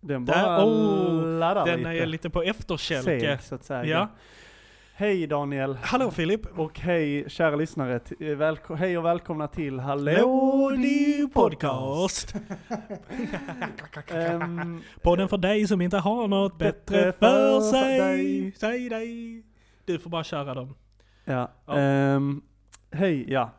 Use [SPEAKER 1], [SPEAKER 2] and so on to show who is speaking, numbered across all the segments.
[SPEAKER 1] Den
[SPEAKER 2] Där-
[SPEAKER 1] bara
[SPEAKER 2] oh,
[SPEAKER 1] laddar
[SPEAKER 2] Den
[SPEAKER 1] lite.
[SPEAKER 2] är lite på efterkälke.
[SPEAKER 1] Seg, så att säga.
[SPEAKER 2] Ja.
[SPEAKER 1] Hej Daniel.
[SPEAKER 2] Hallå Filip!
[SPEAKER 1] Och hej kära lyssnare. T- eh, välko- hej och välkomna till Hallå
[SPEAKER 2] Lodi podcast!
[SPEAKER 1] Ehm,
[SPEAKER 2] Eh, Podden för dig som inte har något
[SPEAKER 1] Bättre
[SPEAKER 2] bättre
[SPEAKER 1] för
[SPEAKER 2] för sig.
[SPEAKER 1] dig. Eh,
[SPEAKER 2] Säg dig! Du får bara köra dem.
[SPEAKER 1] ja.
[SPEAKER 2] Ja.
[SPEAKER 1] Ehm, hej, ja.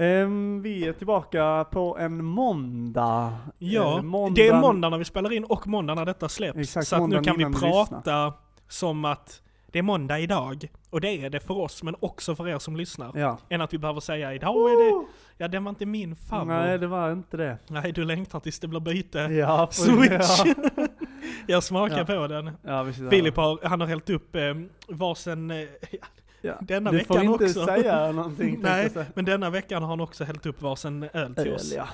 [SPEAKER 1] Ehm, vi är tillbaka på en måndag.
[SPEAKER 2] Ja,
[SPEAKER 1] Eh, måndagen-
[SPEAKER 2] det är måndag när vi spelar in och måndag när detta släpps.
[SPEAKER 1] Exakt,
[SPEAKER 2] så att nu
[SPEAKER 1] måndagen
[SPEAKER 2] kan vi
[SPEAKER 1] innan ni
[SPEAKER 2] prata som att det är måndag idag. Och det är det för oss, men också för er som lyssnar.
[SPEAKER 1] Ja.
[SPEAKER 2] Än att vi behöver säga idag är det... Ja, den var inte min favorit.
[SPEAKER 1] Nej,
[SPEAKER 2] Nej,
[SPEAKER 1] det var inte det.
[SPEAKER 2] du längtar tills det blir byte.
[SPEAKER 1] Ja, för-
[SPEAKER 2] Eh, Switch.
[SPEAKER 1] Ja,
[SPEAKER 2] Jag smakar
[SPEAKER 1] Ja.
[SPEAKER 2] på den.
[SPEAKER 1] ja precis.
[SPEAKER 2] Filip har, han har hällt upp eh, varsin, eh,
[SPEAKER 1] ja.
[SPEAKER 2] denna
[SPEAKER 1] du får
[SPEAKER 2] veckan
[SPEAKER 1] inte
[SPEAKER 2] också.
[SPEAKER 1] säga någonting.
[SPEAKER 2] nej,
[SPEAKER 1] tänkte jag säga.
[SPEAKER 2] men denna veckan har han också hällt upp varsin öl till oss.
[SPEAKER 1] Öl, ja.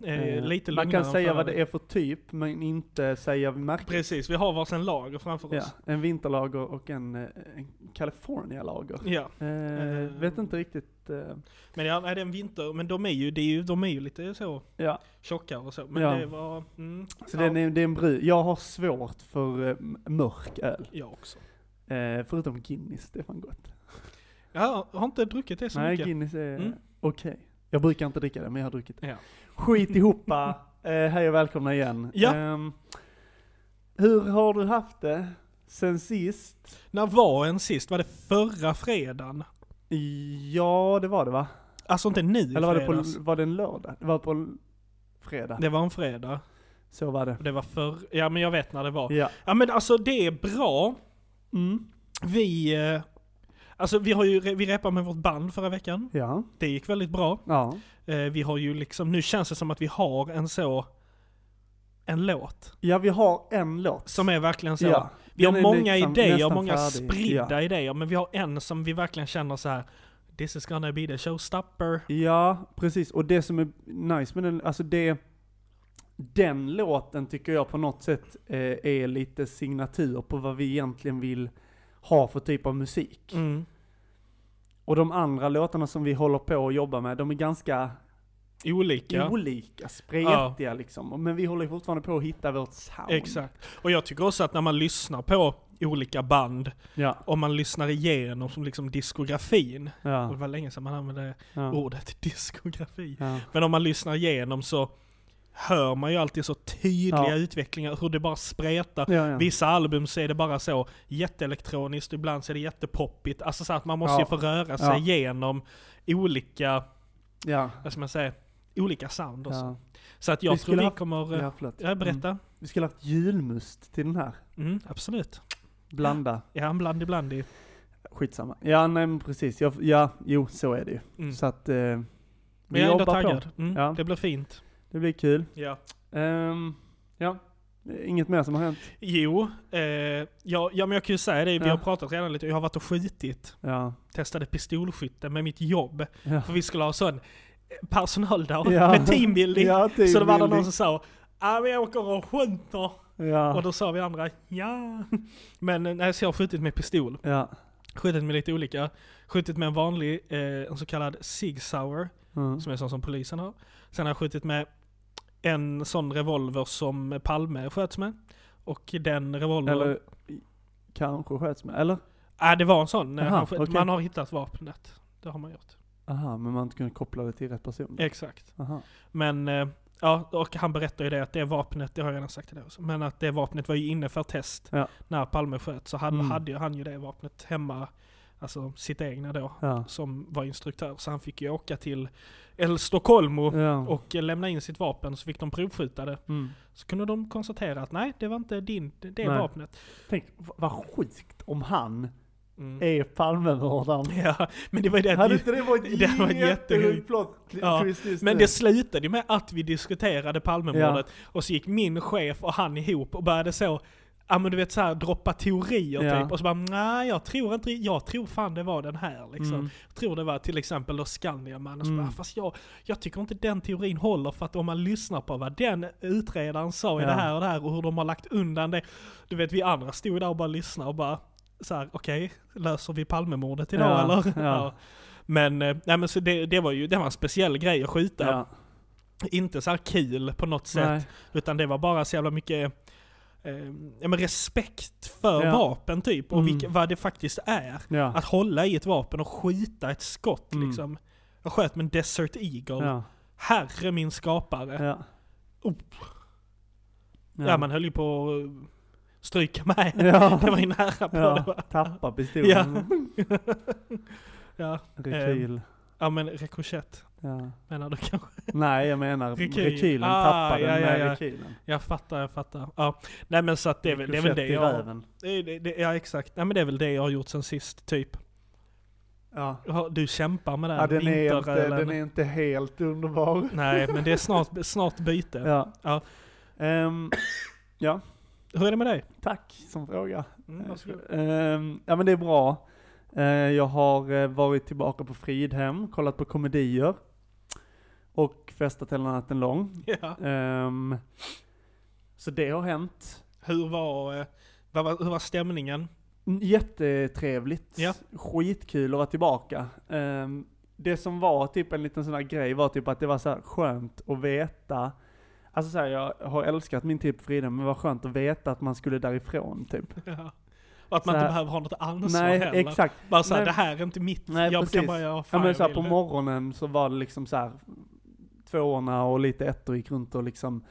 [SPEAKER 2] Ja, eh,
[SPEAKER 1] Eh,
[SPEAKER 2] lite
[SPEAKER 1] Man
[SPEAKER 2] lugnare
[SPEAKER 1] kan
[SPEAKER 2] än
[SPEAKER 1] säga
[SPEAKER 2] förra
[SPEAKER 1] vad det
[SPEAKER 2] veckan.
[SPEAKER 1] är för typ, men inte säga märket.
[SPEAKER 2] Precis, vi har varsin lager framför
[SPEAKER 1] Ja,
[SPEAKER 2] oss.
[SPEAKER 1] en vinterlager och en, eh, en California-lager.
[SPEAKER 2] Ja,
[SPEAKER 1] Eh,
[SPEAKER 2] Eh.
[SPEAKER 1] vet inte riktigt. Eh,
[SPEAKER 2] men ja, nej, det är en vinter, men de är ju, det är ju, de är ju lite så
[SPEAKER 1] ja.
[SPEAKER 2] tjockare och så. Men
[SPEAKER 1] Ja.
[SPEAKER 2] det var, mm,
[SPEAKER 1] Så
[SPEAKER 2] ja,
[SPEAKER 1] den är, det är en brun. Jag har svårt för eh, mörk öl.
[SPEAKER 2] jag också.
[SPEAKER 1] Eh, förutom Guinness, det är fan gott.
[SPEAKER 2] Ja, jag har inte druckit det så
[SPEAKER 1] Nej,
[SPEAKER 2] mycket.
[SPEAKER 1] Guinness är
[SPEAKER 2] Mm.
[SPEAKER 1] okej. Jag brukar inte dricka det, men jag har druckit det.
[SPEAKER 2] Ja.
[SPEAKER 1] Skit ihopa. eh, hej och välkomna igen.
[SPEAKER 2] Ja.
[SPEAKER 1] Ehm, hur har du haft det sen sist?
[SPEAKER 2] När var en sist? Var det förra fredagen?
[SPEAKER 1] Ja, det var det va?
[SPEAKER 2] Alltså inte nu i
[SPEAKER 1] Eller var det, på,
[SPEAKER 2] fredags.
[SPEAKER 1] var det en lördag? Det var på en fredag.
[SPEAKER 2] Det var en fredag.
[SPEAKER 1] Så var det.
[SPEAKER 2] Och Det var för... Ja men jag vet när det var.
[SPEAKER 1] Ja.
[SPEAKER 2] Ja men alltså det är bra.
[SPEAKER 1] Mm.
[SPEAKER 2] Vi... eh, Alltså vi har ju... re- Vi repade med vårt band förra veckan.
[SPEAKER 1] Ja.
[SPEAKER 2] Det gick väldigt bra.
[SPEAKER 1] Ja.
[SPEAKER 2] Eh, Vi har ju liksom... Nu känns det som att vi har en så... En låt.
[SPEAKER 1] Ja, vi har en låt.
[SPEAKER 2] Som är verkligen så.
[SPEAKER 1] ja.
[SPEAKER 2] Vi har
[SPEAKER 1] Den är
[SPEAKER 2] många
[SPEAKER 1] liksom
[SPEAKER 2] idéer,
[SPEAKER 1] nästan
[SPEAKER 2] många
[SPEAKER 1] färdig.
[SPEAKER 2] spridda
[SPEAKER 1] Ja.
[SPEAKER 2] idéer. Men vi har en som vi verkligen känner så här. This is gonna be the showstopper.
[SPEAKER 1] Ja, precis. Och det som är nice med den, alltså det... Den låten tycker jag på något sätt eh, är lite signatur på vad vi egentligen vill ha för typ av musik.
[SPEAKER 2] Mm.
[SPEAKER 1] Och de andra låtarna som vi håller på att jobba med, de är ganska
[SPEAKER 2] Olika.
[SPEAKER 1] olika, spretiga liksom. Men vi håller ju fortfarande på att hitta vårt sound.
[SPEAKER 2] Exakt. Och jag tycker också att när man lyssnar på olika band,
[SPEAKER 1] Ja,
[SPEAKER 2] om man lyssnar igenom som liksom diskografin, Och
[SPEAKER 1] ja,
[SPEAKER 2] det var länge sedan man använde
[SPEAKER 1] ja.
[SPEAKER 2] ordet diskografi.
[SPEAKER 1] ja.
[SPEAKER 2] Men om man lyssnar igenom så hör man ju alltid så tydliga
[SPEAKER 1] Ja.
[SPEAKER 2] utvecklingar, hur det bara spretar.
[SPEAKER 1] Ja, ja.
[SPEAKER 2] Vissa album så är det bara så jätteelektroniskt, ibland så är det jättepoppigt. Alltså så att man måste
[SPEAKER 1] Ja.
[SPEAKER 2] ju få röra sig
[SPEAKER 1] Ja.
[SPEAKER 2] igenom olika,
[SPEAKER 1] ja.
[SPEAKER 2] vad ska man säga, olika sound och så.
[SPEAKER 1] Ja,
[SPEAKER 2] Så att
[SPEAKER 1] Vi
[SPEAKER 2] jag tror
[SPEAKER 1] skulle
[SPEAKER 2] vi
[SPEAKER 1] haft-
[SPEAKER 2] kommer... eh, Ja,
[SPEAKER 1] ja Mm. förlåt. Mm.
[SPEAKER 2] berätta. Mm.
[SPEAKER 1] Vi skulle haft julmust till den här.
[SPEAKER 2] absolut.
[SPEAKER 1] Blanda.
[SPEAKER 2] Ja, en bland ibland i.
[SPEAKER 1] Skitsamma. Ja, nej men precis. Jag, ja, jo, så är det ju.
[SPEAKER 2] Mm.
[SPEAKER 1] Så att eh, vi
[SPEAKER 2] Men jag är ändå
[SPEAKER 1] jobbar
[SPEAKER 2] taggad. Mm,
[SPEAKER 1] Ja.
[SPEAKER 2] Det blir fint.
[SPEAKER 1] Det blir kul.
[SPEAKER 2] Ja.
[SPEAKER 1] Ehm, ja, inget mer som har hänt.
[SPEAKER 2] Jo, eh, ja, ja men jag kan ju säga det, vi
[SPEAKER 1] Ja.
[SPEAKER 2] har pratat redan lite, jag har varit och skjutit,
[SPEAKER 1] Ja.
[SPEAKER 2] testade pistolskytte med mitt jobb.
[SPEAKER 1] Ja.
[SPEAKER 2] För vi skulle ha sån personaldag
[SPEAKER 1] Ja.
[SPEAKER 2] med teambuilding.
[SPEAKER 1] Ja,
[SPEAKER 2] Så då var det någon
[SPEAKER 1] teambuilding.
[SPEAKER 2] som sa Ja men jag åker och skjuter. Och
[SPEAKER 1] Ja.
[SPEAKER 2] då sa vi andra ja. Men eh, nej, så jag har skjutit med pistol.
[SPEAKER 1] Ja.
[SPEAKER 2] Skjutit med lite olika. Skjutit med en vanlig, eh, en så kallad Sig Sauer,
[SPEAKER 1] Mm.
[SPEAKER 2] som är sån som polisen har. Sen har jag skjutit med en sån revolver som Palme sköts med. Och den revolvern
[SPEAKER 1] Eller i- kanske sköts med. Eller?
[SPEAKER 2] Nej, det var en sån. eh,
[SPEAKER 1] Aha,
[SPEAKER 2] Han sk-
[SPEAKER 1] okej.
[SPEAKER 2] Man har hittat vapnet. Det har man gjort.
[SPEAKER 1] Aha, men man har inte kunnat koppla det till rätt person.
[SPEAKER 2] Exakt.
[SPEAKER 1] Aha.
[SPEAKER 2] Men, eh, ja, och han berättar ju det att det vapnet, det har jag redan sagt till dig också, men att det vapnet var ju inne för test
[SPEAKER 1] Ja.
[SPEAKER 2] när Palme sköt. Så han,
[SPEAKER 1] Mm.
[SPEAKER 2] hade ju han ju det vapnet hemma, alltså sitt egna då,
[SPEAKER 1] Ja.
[SPEAKER 2] som var instruktör. Så han fick ju åka till El Stockholmo
[SPEAKER 1] Ja.
[SPEAKER 2] och eh, lämna in sitt vapen, så fick de provskjuta det.
[SPEAKER 1] Mm.
[SPEAKER 2] Så kunde de konstatera att nej, det var inte din, det det
[SPEAKER 1] Nej.
[SPEAKER 2] vapnet.
[SPEAKER 1] Tänk, v- vad sjukt om han
[SPEAKER 2] Mm.
[SPEAKER 1] är Palmemördaren.
[SPEAKER 2] Ja, men det var ju det att
[SPEAKER 1] Eh. Hade
[SPEAKER 2] vi-
[SPEAKER 1] inte det varit
[SPEAKER 2] Det hade varit jättesjukt.
[SPEAKER 1] jättehögt plot liksom.
[SPEAKER 2] Ja,
[SPEAKER 1] twist just
[SPEAKER 2] Men
[SPEAKER 1] nu?
[SPEAKER 2] det slutade ju med att vi diskuterade Palmemordet, och så gick min chef och han ihop och började så, ja men du vet såhär droppa teorier
[SPEAKER 1] Ja.
[SPEAKER 2] typ, och så bara nej jag tror inte, jag tror fan det var den här liksom.
[SPEAKER 1] Mm.
[SPEAKER 2] Jag tror det var till exempel då Skandiamannen, och så
[SPEAKER 1] Mm.
[SPEAKER 2] bara, fast jag, jag tycker inte den teorin håller för att om man lyssnar på vad den utredaren sa i det
[SPEAKER 1] Ja.
[SPEAKER 2] här och det här och hur de har lagt undan det, du vet vi andra stod där och bara lyssnade och bara så här, okej, löser vi Palmemordet idag
[SPEAKER 1] Ja,
[SPEAKER 2] eller?
[SPEAKER 1] ja.
[SPEAKER 2] Men, eh, nej men så det, det var ju det var en speciell grej att skjuta.
[SPEAKER 1] Ja.
[SPEAKER 2] Inte så här kul på något sätt,
[SPEAKER 1] Nej.
[SPEAKER 2] utan det var bara så jävla mycket eh, ja, men respekt för
[SPEAKER 1] Ja.
[SPEAKER 2] vapen typ, och
[SPEAKER 1] Mm.
[SPEAKER 2] vilk, vad det faktiskt är.
[SPEAKER 1] Ja.
[SPEAKER 2] Att hålla i ett vapen och skjuta ett skott
[SPEAKER 1] Mm.
[SPEAKER 2] liksom. Jag sköt med en Desert Eagle.
[SPEAKER 1] Ja.
[SPEAKER 2] Herre min skapare. Ja.
[SPEAKER 1] Ja.
[SPEAKER 2] Oh. man höll ju på att stryka mig.
[SPEAKER 1] Ja.
[SPEAKER 2] Det var ju nära på det.
[SPEAKER 1] Ja,
[SPEAKER 2] va?
[SPEAKER 1] tappa pistolen.
[SPEAKER 2] Ja. eh.
[SPEAKER 1] Rekyl.
[SPEAKER 2] ja, men rikoschett
[SPEAKER 1] Ja.
[SPEAKER 2] menar du kanske?
[SPEAKER 1] Nej, jag menar
[SPEAKER 2] Rekyl.
[SPEAKER 1] rekylen,
[SPEAKER 2] Ah,
[SPEAKER 1] tappa den
[SPEAKER 2] ja, ja,
[SPEAKER 1] med
[SPEAKER 2] ja.
[SPEAKER 1] rekylen.
[SPEAKER 2] Jag fattar, jag fattar. Ja. Nej men så att det är väl det, är väl det
[SPEAKER 1] Ricochet i
[SPEAKER 2] jag...
[SPEAKER 1] röven.
[SPEAKER 2] Det, är- det, det, ja exakt. Nej men det är väl det jag har gjort sen sist, typ.
[SPEAKER 1] Ja.
[SPEAKER 2] Ja, Du kämpar med den
[SPEAKER 1] Ja, den, är inte,
[SPEAKER 2] vinterölen.
[SPEAKER 1] den är inte helt underbar.
[SPEAKER 2] Nej men det är snart, snart byte.
[SPEAKER 1] Ja.
[SPEAKER 2] Ja.
[SPEAKER 1] Ehm,
[SPEAKER 2] Hur är det med dig?
[SPEAKER 1] tack som fråga.
[SPEAKER 2] Mm, varsågod.
[SPEAKER 1] Ehm, ja men det är bra. Eh, jag har eh, varit tillbaka på Fridhem, kollat på komedier. Och festat hela natten lång.
[SPEAKER 2] ja.
[SPEAKER 1] Ehm, så det har hänt.
[SPEAKER 2] Hur var, eh, vad var, hur var stämningen?
[SPEAKER 1] Mm, Jättetrevligt.
[SPEAKER 2] Ja.
[SPEAKER 1] Skitkul att vara tillbaka. Ehm, det som var typ en liten sån här grej var typ att det var så här skönt att veta. Alltså så här, jag har älskat min typ Fridhem, men det var skönt att veta att man skulle därifrån typ.
[SPEAKER 2] Ja. Och att man
[SPEAKER 1] Så
[SPEAKER 2] inte
[SPEAKER 1] här-
[SPEAKER 2] behöver ha något ansvar
[SPEAKER 1] Nej,
[SPEAKER 2] heller.
[SPEAKER 1] exakt.
[SPEAKER 2] Bara såhär,
[SPEAKER 1] Nej.
[SPEAKER 2] det här är inte mitt.
[SPEAKER 1] Nej,
[SPEAKER 2] jag kan
[SPEAKER 1] precis.
[SPEAKER 2] bara göra
[SPEAKER 1] Ja
[SPEAKER 2] fan
[SPEAKER 1] men så här,
[SPEAKER 2] jag
[SPEAKER 1] på
[SPEAKER 2] vill.
[SPEAKER 1] morgonen så var det liksom så här tvåorna och lite ettor gick runt och liksom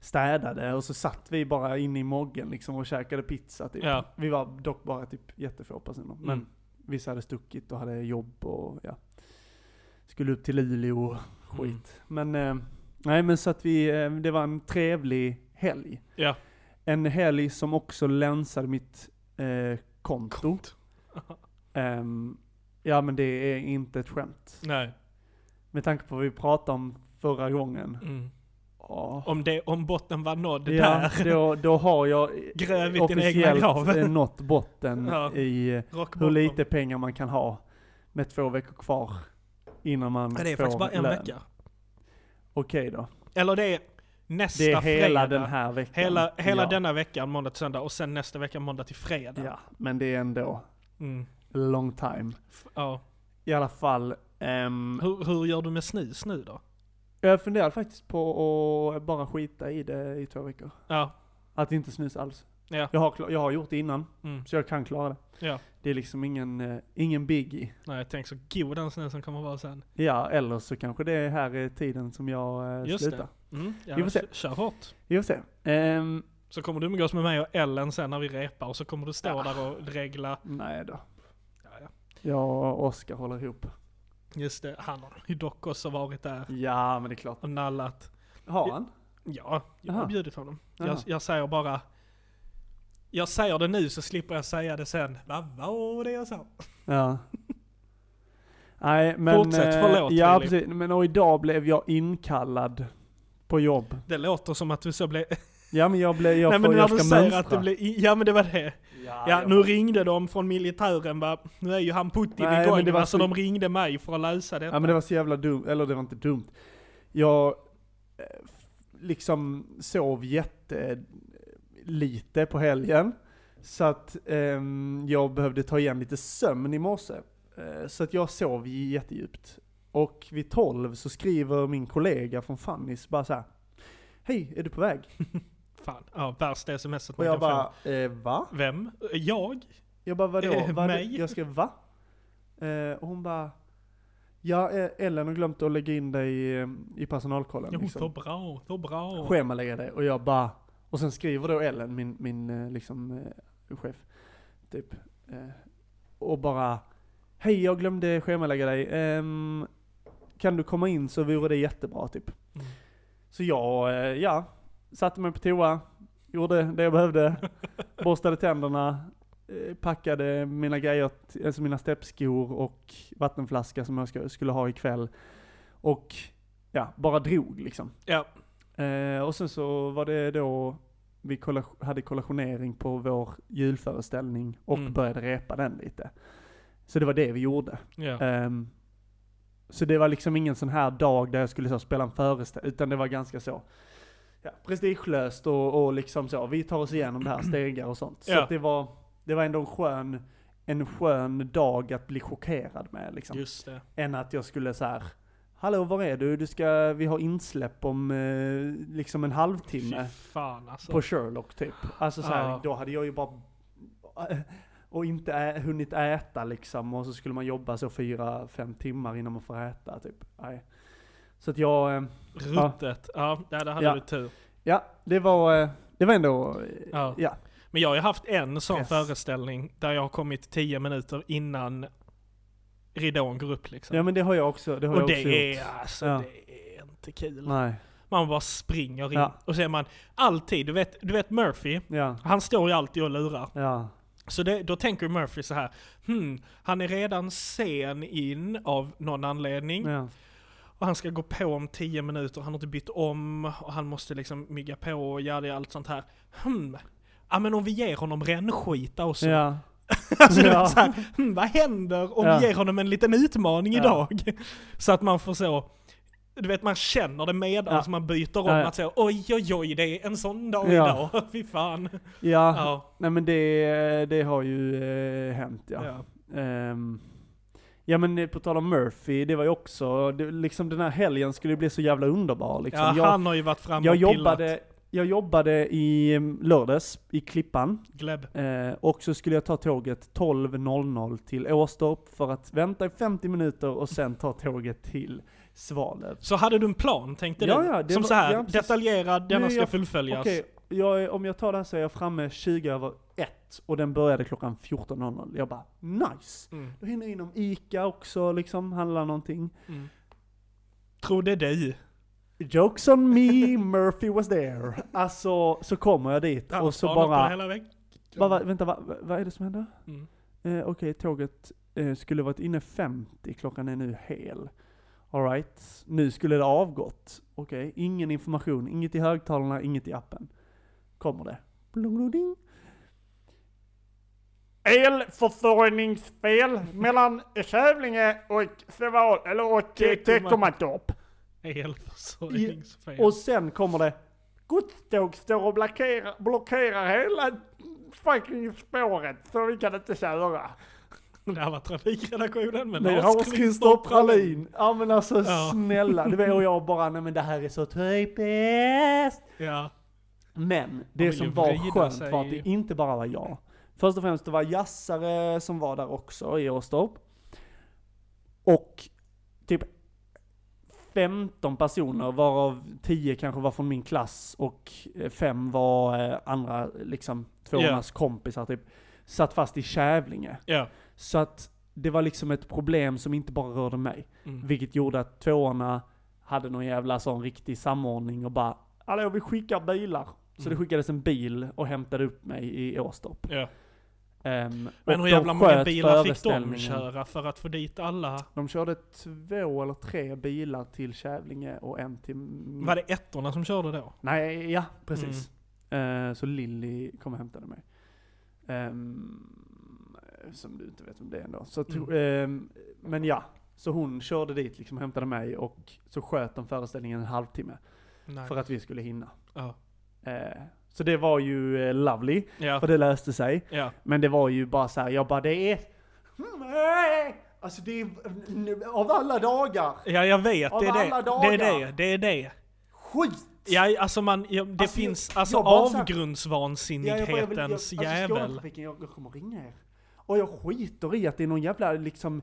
[SPEAKER 1] städade och så satt vi bara inne i moggen liksom och käkade pizza typ.
[SPEAKER 2] Ja.
[SPEAKER 1] Vi var dock bara typ jättefå personer. Men
[SPEAKER 2] Mm.
[SPEAKER 1] vissa hade stuckit och hade jobb och ja. Skulle upp till Luleå och
[SPEAKER 2] Mm.
[SPEAKER 1] skit. Men eh, nej men så att vi, eh, det var en trevlig helg.
[SPEAKER 2] Ja.
[SPEAKER 1] En helg som också länsade mitt eh, konto. Ehm, ja men det är inte ett skämt.
[SPEAKER 2] Nej.
[SPEAKER 1] Med tanke på vad vi pratade om förra gången.
[SPEAKER 2] Mm.
[SPEAKER 1] Ja,
[SPEAKER 2] Om, det, om botten var nådd
[SPEAKER 1] ja
[SPEAKER 2] där.
[SPEAKER 1] då, då har jag
[SPEAKER 2] Grävit din egna
[SPEAKER 1] officiellt
[SPEAKER 2] grav.
[SPEAKER 1] eh, nått botten
[SPEAKER 2] Ja.
[SPEAKER 1] i eh,
[SPEAKER 2] Rock
[SPEAKER 1] hur
[SPEAKER 2] bottom.
[SPEAKER 1] lite pengar man kan ha med två veckor kvar innan man
[SPEAKER 2] Ja, det är
[SPEAKER 1] får
[SPEAKER 2] faktiskt bara en
[SPEAKER 1] lön.
[SPEAKER 2] vecka.
[SPEAKER 1] Okej då.
[SPEAKER 2] Eller det är nästa
[SPEAKER 1] Det är hela
[SPEAKER 2] fredag.
[SPEAKER 1] den här veckan.
[SPEAKER 2] Hela, hela
[SPEAKER 1] ja.
[SPEAKER 2] denna veckan, måndag till söndag, och sen nästa vecka, måndag till fredag.
[SPEAKER 1] Ja, men det är ändå
[SPEAKER 2] Mm.
[SPEAKER 1] long time.
[SPEAKER 2] F- ja.
[SPEAKER 1] I alla fall. ehm,
[SPEAKER 2] Hur, hur gör du med snus nu då?
[SPEAKER 1] jag funderar faktiskt på att bara skita i det i två veckor.
[SPEAKER 2] Ja,
[SPEAKER 1] Att inte snusa alls.
[SPEAKER 2] Ja.
[SPEAKER 1] Jag, har, kla- jag har gjort det innan,
[SPEAKER 2] mm.
[SPEAKER 1] så jag kan klara det.
[SPEAKER 2] Ja.
[SPEAKER 1] Det är liksom ingen, eh, ingen biggie.
[SPEAKER 2] Nej, jag tänker så god den snusen kommer vara sen.
[SPEAKER 1] Ja, eller så kanske det här är tiden som jag eh,
[SPEAKER 2] Just
[SPEAKER 1] slutar.
[SPEAKER 2] det. Mm. Ja,
[SPEAKER 1] Vi får se.
[SPEAKER 2] kö- Kör hårt.
[SPEAKER 1] Vi får se. Ehm,
[SPEAKER 2] Så kommer du umgås med mig och Ellen sen när vi repar, och så kommer du stå
[SPEAKER 1] Ja.
[SPEAKER 2] där och regla.
[SPEAKER 1] nej då.
[SPEAKER 2] Ja, ja.
[SPEAKER 1] Jag och Oskar håller ihop.
[SPEAKER 2] Just det, han har ju dock också varit där
[SPEAKER 1] Ja, men det är klart.
[SPEAKER 2] och nallat.
[SPEAKER 1] Har han?
[SPEAKER 2] Ja, jag har
[SPEAKER 1] Aha.
[SPEAKER 2] bjudit honom. Jag,
[SPEAKER 1] Aha.
[SPEAKER 2] jag säger bara... Jag säger det nu så slipper jag säga det sen. Vad var det jag sa?
[SPEAKER 1] Ja. Nej, men...
[SPEAKER 2] Fortsätt,
[SPEAKER 1] eh,
[SPEAKER 2] förlåt,
[SPEAKER 1] Ja,
[SPEAKER 2] Filip.
[SPEAKER 1] precis. Men och idag blev jag inkallad på jobb.
[SPEAKER 2] Det låter som att du så blev...
[SPEAKER 1] Ja, men jag blev... Jag,
[SPEAKER 2] Nej
[SPEAKER 1] får,
[SPEAKER 2] men när
[SPEAKER 1] jag
[SPEAKER 2] du
[SPEAKER 1] ska
[SPEAKER 2] säger
[SPEAKER 1] mönstra.
[SPEAKER 2] att det blev... Ja men det var det.
[SPEAKER 1] Ja,
[SPEAKER 2] Ja,
[SPEAKER 1] jag-
[SPEAKER 2] nu ringde de från militären va. Nu är ju han Putin
[SPEAKER 1] Nej,
[SPEAKER 2] igång
[SPEAKER 1] men det var
[SPEAKER 2] va, så
[SPEAKER 1] så-
[SPEAKER 2] de ringde mig för att lösa detta.
[SPEAKER 1] Ja men det var så jävla dumt, eller det var inte dumt. Jag eh, f- liksom sov jättelite på helgen. Så att ehm, jag behövde ta igen lite sömn i morse. Eh, så att jag sov jättedjupt. Och vid 12 så skriver min kollega från Fannys bara så här. Hej, är du på väg?
[SPEAKER 2] Fan, ja, värsta smset
[SPEAKER 1] Och
[SPEAKER 2] man
[SPEAKER 1] jag
[SPEAKER 2] kan
[SPEAKER 1] bara, eh, va?
[SPEAKER 2] få. Vem? Jag?
[SPEAKER 1] Jag bara, vadå?
[SPEAKER 2] Eh,
[SPEAKER 1] Vad-
[SPEAKER 2] mig?
[SPEAKER 1] Jag skrev, va? Eh, och hon bara, ja eh, Ellen har glömt att lägga in dig i, i personalkollen.
[SPEAKER 2] Jo, så
[SPEAKER 1] liksom.
[SPEAKER 2] bra, så bra.
[SPEAKER 1] Schemalägga dig. Och jag bara, och sen skriver då Ellen, min, min eh, liksom, eh, chef, typ. Eh, och bara, hej jag glömde schemalägga dig. Ehm, kan du komma in så vore det jättebra typ.
[SPEAKER 2] Mm.
[SPEAKER 1] Så jag, eh, ja, satte mig på toa, gjorde det jag behövde, borstade tänderna, eh, packade mina grejer, t- alltså mina steppskor och vattenflaska som jag ska, skulle ha ikväll. Och ja, bara drog liksom.
[SPEAKER 2] Ja.
[SPEAKER 1] Eh, och sen så var det då vi kolla- hade kollationering på vår julföreställning och
[SPEAKER 2] Mm.
[SPEAKER 1] började repa den lite. Så det var det vi gjorde.
[SPEAKER 2] Ja.
[SPEAKER 1] Ehm, så det var liksom ingen sån här dag där jag skulle så spela en föreställning, utan det var ganska så ja, prestigelöst och, och liksom så, vi tar oss igenom det här, stegar och sånt. Så
[SPEAKER 2] Ja.
[SPEAKER 1] att det, var, det var ändå en skön, en skön dag att bli chockerad med liksom.
[SPEAKER 2] Just det.
[SPEAKER 1] Än att jag skulle så här Hallå var är du? du ska, vi har insläpp om eh, liksom en halvtimme.
[SPEAKER 2] Fy fan alltså.
[SPEAKER 1] På Sherlock typ. Alltså så här,
[SPEAKER 2] Ja.
[SPEAKER 1] då hade jag ju bara... Och inte ä- hunnit äta liksom. Och så skulle man jobba så fyra, fem timmar innan man får äta typ. Nej. Så att jag... eh,
[SPEAKER 2] Ruttet. Ja, ja där hade
[SPEAKER 1] Ja.
[SPEAKER 2] du tur.
[SPEAKER 1] Ja, det var... eh, Det var ändå... eh,
[SPEAKER 2] Ja.
[SPEAKER 1] Ja.
[SPEAKER 2] Men jag har ju haft en sån
[SPEAKER 1] Yes.
[SPEAKER 2] föreställning där jag har kommit 10 minuter innan ridån går upp liksom.
[SPEAKER 1] Ja men det har jag också. Det har
[SPEAKER 2] och
[SPEAKER 1] jag
[SPEAKER 2] det
[SPEAKER 1] också
[SPEAKER 2] är,
[SPEAKER 1] gjort.
[SPEAKER 2] alltså,
[SPEAKER 1] Ja.
[SPEAKER 2] det är inte kul.
[SPEAKER 1] Nej.
[SPEAKER 2] Man bara springer in.
[SPEAKER 1] Ja.
[SPEAKER 2] Och så är man alltid, du vet, du vet Murphy,
[SPEAKER 1] Ja.
[SPEAKER 2] han står ju alltid och lurar.
[SPEAKER 1] Ja.
[SPEAKER 2] Så det, då tänker Murphy så här, hmm, han är redan sen in av någon anledning.
[SPEAKER 1] Ja.
[SPEAKER 2] Och han ska gå på om 10 minuter, han har inte bytt om, och han måste liksom mygga på och göra allt sånt här. Hmm, ja men om vi ger honom rännskita och så.
[SPEAKER 1] Ja.
[SPEAKER 2] Alltså,
[SPEAKER 1] Ja.
[SPEAKER 2] ja. så här, hmm, vad händer om
[SPEAKER 1] Ja.
[SPEAKER 2] vi ger honom en liten utmaning
[SPEAKER 1] Ja.
[SPEAKER 2] idag? Så att man får så, du vet man känner det med,
[SPEAKER 1] Ja.
[SPEAKER 2] alltså man byter om
[SPEAKER 1] Ja, ja.
[SPEAKER 2] att säga oj oj oj det är en sån dag
[SPEAKER 1] Ja.
[SPEAKER 2] idag, fy fan.
[SPEAKER 1] ja.
[SPEAKER 2] Ja.
[SPEAKER 1] Nej men det, det har ju eh, hänt ja.
[SPEAKER 2] Ja.
[SPEAKER 1] Ehm, ja men eh, på tal om Murphy, det var ju också, det, liksom den här helgen skulle ju bli så jävla underbar liksom.
[SPEAKER 2] Ja,
[SPEAKER 1] jag,
[SPEAKER 2] han har ju varit framme
[SPEAKER 1] jag,
[SPEAKER 2] och pillat.
[SPEAKER 1] jobbade, jag jobbade i mm, lördags i Klippan
[SPEAKER 2] Gleb.
[SPEAKER 1] eh, och så skulle jag ta tåget 12.00 till Åstorp för att vänta i 50 minuter och sen ta tåget till Svalöv.
[SPEAKER 2] Så hade du en plan tänkte
[SPEAKER 1] Ja,
[SPEAKER 2] du?
[SPEAKER 1] ja, det
[SPEAKER 2] Som
[SPEAKER 1] var-
[SPEAKER 2] så här,
[SPEAKER 1] ja, precis.
[SPEAKER 2] detaljerad, denna
[SPEAKER 1] Nu,
[SPEAKER 2] ska
[SPEAKER 1] jag-
[SPEAKER 2] fullföljas.
[SPEAKER 1] Okej, jag är- om jag tar det här så är jag framme 20 över 1 och den började klockan 14.00. Jag bara nice!
[SPEAKER 2] Mm,
[SPEAKER 1] Då hinner jag inom ICA också liksom, handla någonting.
[SPEAKER 2] mm. Trodde dig.
[SPEAKER 1] Jokes on me, Murphy was there. Alltså, så kommer jag dit
[SPEAKER 2] Han
[SPEAKER 1] och så
[SPEAKER 2] spanade på det
[SPEAKER 1] bara...
[SPEAKER 2] Hela vägen.
[SPEAKER 1] bara va, vänta, va- va- vad är det som händer?
[SPEAKER 2] Mm.
[SPEAKER 1] Eh, Okej, tåget eh, skulle varit inne 50, klockan är nu hel. Alright, nu skulle det avgått. Okej, ingen information, inget i högtalarna, inget i appen. Kommer det. Blung, blung, ding.
[SPEAKER 3] Elförsörjningsfel mellan Kävlinge och Seval, eller och eh, Teckomatorp.
[SPEAKER 2] Elförsörjningsfel.
[SPEAKER 1] Och sen kommer det.
[SPEAKER 3] Godståg står och blockerar, blockerar hela fucking spåret så vi kan inte köra.
[SPEAKER 2] Det här var trafikredaktionen men
[SPEAKER 1] Nej,
[SPEAKER 2] Lars-Christer
[SPEAKER 1] Lars-Christer Pralin. Ja men alltså
[SPEAKER 2] Ja.
[SPEAKER 1] snälla. Du vet, och jag bara, nej men det här är så typiskt.
[SPEAKER 2] Ja.
[SPEAKER 1] Men
[SPEAKER 2] vill
[SPEAKER 1] det
[SPEAKER 2] ju
[SPEAKER 1] som var
[SPEAKER 2] vrida
[SPEAKER 1] skönt
[SPEAKER 2] sig.
[SPEAKER 1] var att det inte bara var jag. Först och främst det var jassare som var där också i Åstorp. Och typ 15 personer varav 10 kanske var från min klass och 5 var eh, andra liksom tvåornas kompisar typ. Satt fast i Kävlinge.
[SPEAKER 2] Ja.
[SPEAKER 1] Så att det var liksom ett problem som inte bara rörde mig.
[SPEAKER 2] Mm.
[SPEAKER 1] Vilket gjorde att tvåorna hade någon jävla sån riktig samordning och bara Hallå vi skickar bilar. Så det
[SPEAKER 2] Mm.
[SPEAKER 1] skickades en bil och hämtade upp mig i Åstorp.
[SPEAKER 2] ja.
[SPEAKER 1] Ehm,
[SPEAKER 2] Men
[SPEAKER 1] och
[SPEAKER 2] hur
[SPEAKER 1] de
[SPEAKER 2] jävla många
[SPEAKER 1] sköt
[SPEAKER 2] bilar fick de
[SPEAKER 1] föreställningen. Mm.
[SPEAKER 2] köra för att få dit alla?
[SPEAKER 1] De körde två eller tre bilar till Kävlinge och en till... min-
[SPEAKER 2] Var det ettorna som körde då?
[SPEAKER 1] Nej, ja precis.
[SPEAKER 2] Mm.
[SPEAKER 1] Eh, så Lilly kom och hämtade mig. Ehm, som du inte vet om det är ändå. Så att,
[SPEAKER 2] Mm.
[SPEAKER 1] ehm, men ja, så hon körde dit liksom och hämtade mig och så sköt de föreställningen en halvtimme.
[SPEAKER 2] Nej.
[SPEAKER 1] För att vi skulle hinna.
[SPEAKER 2] Ja.
[SPEAKER 1] Eh, så det var ju eh, lovely,
[SPEAKER 2] Ja.
[SPEAKER 1] för det löste sig.
[SPEAKER 2] ja.
[SPEAKER 1] Men det var ju bara så här, jag bara det är... Hmm, Nej! Alltså det är... Av alla dagar!
[SPEAKER 2] Ja, jag vet.
[SPEAKER 1] Av
[SPEAKER 2] Det är
[SPEAKER 1] alla
[SPEAKER 2] det. Det är
[SPEAKER 1] dagar.
[SPEAKER 2] det. Det är det.
[SPEAKER 1] Skit!
[SPEAKER 2] Ja, alltså man, ja, det
[SPEAKER 1] Alltså,
[SPEAKER 2] finns
[SPEAKER 1] jag-
[SPEAKER 2] alltså
[SPEAKER 1] jag bara så här- alltså,
[SPEAKER 2] avgrundsvansinnighetens jävel.
[SPEAKER 1] Skånetrafiken, jag, jag kommer ringa er. Och jag skiter i att det är någon jävla liksom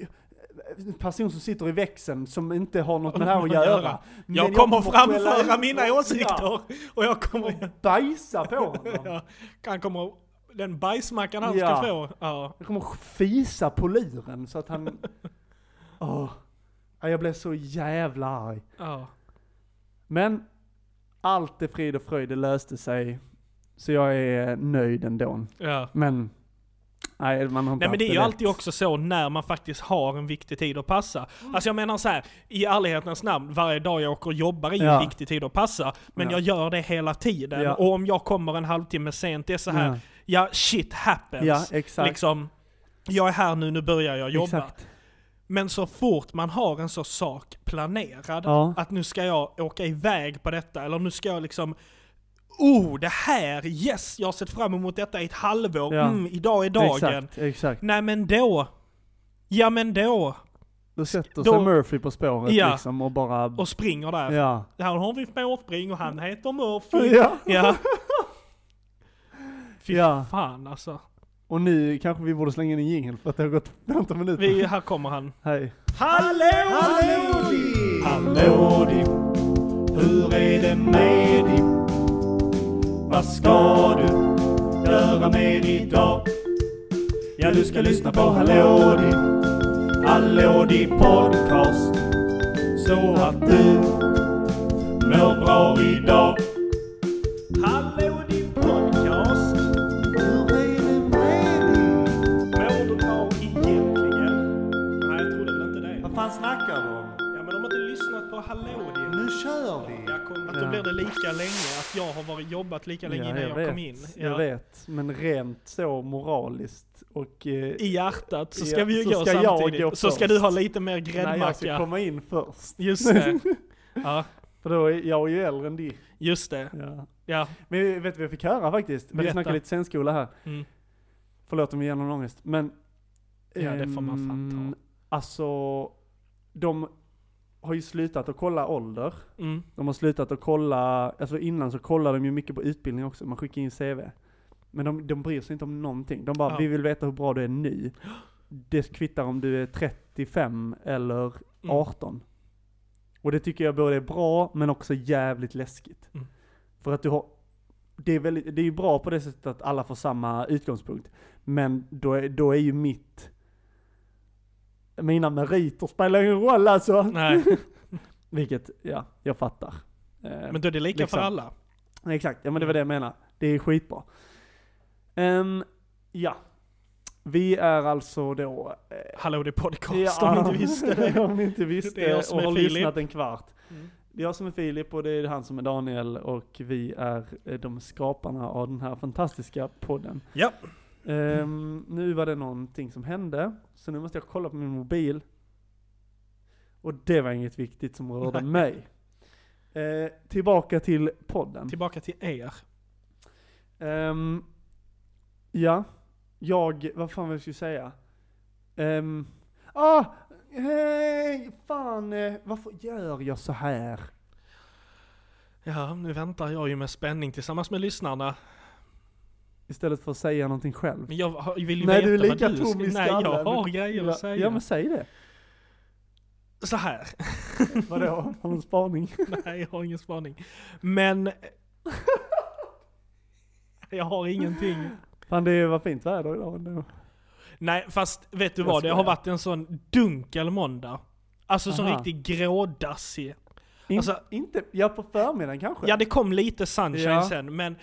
[SPEAKER 1] eh, person som sitter i växeln som inte har något med det här att göra. Men
[SPEAKER 2] Jag kommer
[SPEAKER 1] skälla
[SPEAKER 2] framföra
[SPEAKER 1] ut
[SPEAKER 2] mina
[SPEAKER 1] och- Ja,
[SPEAKER 2] åsikter och jag kommer...
[SPEAKER 1] bajsa på honom.
[SPEAKER 2] Ja, han kommer... Den bajsmackan han
[SPEAKER 1] Ja.
[SPEAKER 2] ska få. Ja.
[SPEAKER 1] Jag kommer fisa på luren så att han... Åh. Ja, Jag blev så jävla arg.
[SPEAKER 2] ja.
[SPEAKER 1] Men allt är frid och fröjd, det löste sig. Så jag är nöjd ändå.
[SPEAKER 2] ja.
[SPEAKER 1] Men, nej man har inte
[SPEAKER 2] Nej men
[SPEAKER 1] haft
[SPEAKER 2] det är ju
[SPEAKER 1] lätt.
[SPEAKER 2] alltid också så när man faktiskt har en viktig tid att passa. Alltså jag menar så här, i ärlighetens namn, varje dag jag åker och jobbar är ju
[SPEAKER 1] Ja.
[SPEAKER 2] en viktig tid att passa. Men
[SPEAKER 1] Ja.
[SPEAKER 2] jag gör det hela tiden.
[SPEAKER 1] Ja.
[SPEAKER 2] Och om jag kommer en halvtimme sent, det är så här,
[SPEAKER 1] Ja.
[SPEAKER 2] ja, shit happens.
[SPEAKER 1] Ja, exakt.
[SPEAKER 2] Liksom, jag är här nu, nu börjar jag jobba.
[SPEAKER 1] Exakt.
[SPEAKER 2] Men så fort man har en sån sak planerad,
[SPEAKER 1] Ja.
[SPEAKER 2] att nu ska jag åka iväg på detta, eller nu ska jag liksom Oh, det här! Yes! Jag har sett fram emot detta i ett halvår.
[SPEAKER 1] Ja.
[SPEAKER 2] Mm, idag är dagen.
[SPEAKER 1] Exakt, exakt.
[SPEAKER 2] Nej men då! Ja men då!
[SPEAKER 1] Då sätter
[SPEAKER 2] Då-
[SPEAKER 1] sig Murphy på spåret
[SPEAKER 2] Ja.
[SPEAKER 1] liksom och bara...
[SPEAKER 2] Och springer där.
[SPEAKER 1] ja.
[SPEAKER 2] Här har vi spårspring och han heter Murphy.
[SPEAKER 1] ja.
[SPEAKER 2] Ja. Fy
[SPEAKER 1] Ja.
[SPEAKER 2] fan alltså.
[SPEAKER 1] Och nu kanske vi borde slänga in en jingel för att det har gått 15 minuter.
[SPEAKER 2] Vi, här kommer han.
[SPEAKER 1] Hej.
[SPEAKER 2] Hallå! Hallå Dipp! Hur är det med Dipp? Vad ska du göra mer idag? Ja, du ska lyssna på Hallå Dipp, Hallå Dipp podcast. Så att du mår bra idag. Hallå Dipp podcast. Mår du bra egentligen? Nej, jag trodde väl inte det.
[SPEAKER 1] Vad fan snackar du om?
[SPEAKER 2] Ja men de har inte lyssnat på Hallå din.
[SPEAKER 1] Nu kör vi!
[SPEAKER 2] Jag kom, att då blir det lika länge, att jag har varit, jobbat lika länge innan jag,
[SPEAKER 1] vet.
[SPEAKER 2] kom in. Ja.
[SPEAKER 1] Jag vet, men rent så moraliskt och... Eh,
[SPEAKER 2] I hjärtat så ska
[SPEAKER 1] Ja,
[SPEAKER 2] vi ju
[SPEAKER 1] så
[SPEAKER 2] gå
[SPEAKER 1] ska jag
[SPEAKER 2] samtidigt.
[SPEAKER 1] gå
[SPEAKER 2] så ska
[SPEAKER 1] först.
[SPEAKER 2] du ha lite mer
[SPEAKER 1] nej, jag ska
[SPEAKER 2] gräddmacka.
[SPEAKER 1] komma in först.
[SPEAKER 2] Just det. Ja,
[SPEAKER 1] För då är jag är ju äldre än dig.
[SPEAKER 2] just det.
[SPEAKER 1] Ja.
[SPEAKER 2] Ja.
[SPEAKER 1] Men vet du vad jag fick höra faktiskt? Vi
[SPEAKER 2] Berätta.
[SPEAKER 1] snackar lite scenskola här.
[SPEAKER 2] Mm.
[SPEAKER 1] Förlåt om vi ger någon ångest, men...
[SPEAKER 2] Ja, det får man fan ta.
[SPEAKER 1] ehm, Alltså, de har ju slutat att kolla ålder.
[SPEAKER 2] Mm.
[SPEAKER 1] De har slutat att kolla, alltså innan så kollade de ju mycket på utbildning också, man skickar in CV. Men de, de bryr sig inte om någonting. De bara,
[SPEAKER 2] Ja.
[SPEAKER 1] vi vill veta hur bra du är nu. Det kvittar om du är 35 eller
[SPEAKER 2] Mm.
[SPEAKER 1] 18. Och det tycker jag både är bra, men också jävligt läskigt.
[SPEAKER 2] Mm.
[SPEAKER 1] För att du har, det är, väldigt, det är ju bra på det sättet att alla får samma utgångspunkt. Men då är, då är ju mitt, mina meriter spelar ingen roll alltså.
[SPEAKER 2] Nej,
[SPEAKER 1] Vilket, ja, jag fattar. Eh,
[SPEAKER 2] men då är det lika
[SPEAKER 1] Liksom.
[SPEAKER 2] för alla.
[SPEAKER 1] Nej, Exakt, ja men det var det jag
[SPEAKER 2] Mm.
[SPEAKER 1] menade. Det är skitbra. Ehm, ja. Vi är alltså då... eh,
[SPEAKER 2] Hallå det är podcast om ni inte visste.
[SPEAKER 1] om ni inte visste
[SPEAKER 2] Det är jag som
[SPEAKER 1] och
[SPEAKER 2] är
[SPEAKER 1] har
[SPEAKER 2] Filip.
[SPEAKER 1] lyssnat en kvart.
[SPEAKER 2] Mm.
[SPEAKER 1] Det är jag som är Filip och det är han som är Daniel och vi är eh, de skaparna av den här fantastiska podden.
[SPEAKER 2] Ja.
[SPEAKER 1] Ehm, nu var det någonting som hände, så nu måste jag kolla på min mobil. Och det var inget viktigt som rörde mig. Eh, tillbaka till podden.
[SPEAKER 2] Tillbaka till er.
[SPEAKER 1] Ehm, ja, jag, vad fan var det jag skulle säga? Ehm, ah! Hej! Fan, eh, varför gör jag så här?
[SPEAKER 2] Ja, nu väntar jag ju med spänning tillsammans med lyssnarna.
[SPEAKER 1] Istället för att säga någonting själv.
[SPEAKER 2] Men jag har- jag vill ju
[SPEAKER 1] Nej,
[SPEAKER 2] veta
[SPEAKER 1] du är
[SPEAKER 2] vad
[SPEAKER 1] lika
[SPEAKER 2] du
[SPEAKER 1] tom i
[SPEAKER 2] Nej, jag
[SPEAKER 1] skallen.
[SPEAKER 2] har grejer
[SPEAKER 1] ja,
[SPEAKER 2] att säga.
[SPEAKER 1] ja men säg det.
[SPEAKER 2] Så här.
[SPEAKER 1] Vadå? Har du en spaning?
[SPEAKER 2] Nej, jag har ingen spaning. Men... jag har ingenting.
[SPEAKER 1] Fan det var fint väder idag ändå.
[SPEAKER 2] Nej, fast vet du
[SPEAKER 1] Jag
[SPEAKER 2] vad? Det har
[SPEAKER 1] skojar.
[SPEAKER 2] varit en sån dunkel måndag. Alltså sån
[SPEAKER 1] Aha.
[SPEAKER 2] riktigt grådassig.
[SPEAKER 1] In,
[SPEAKER 2] Alltså-
[SPEAKER 1] inte, ja på förmiddagen kanske?
[SPEAKER 2] Ja, det kom lite sunshine
[SPEAKER 1] Ja.
[SPEAKER 2] sen, men...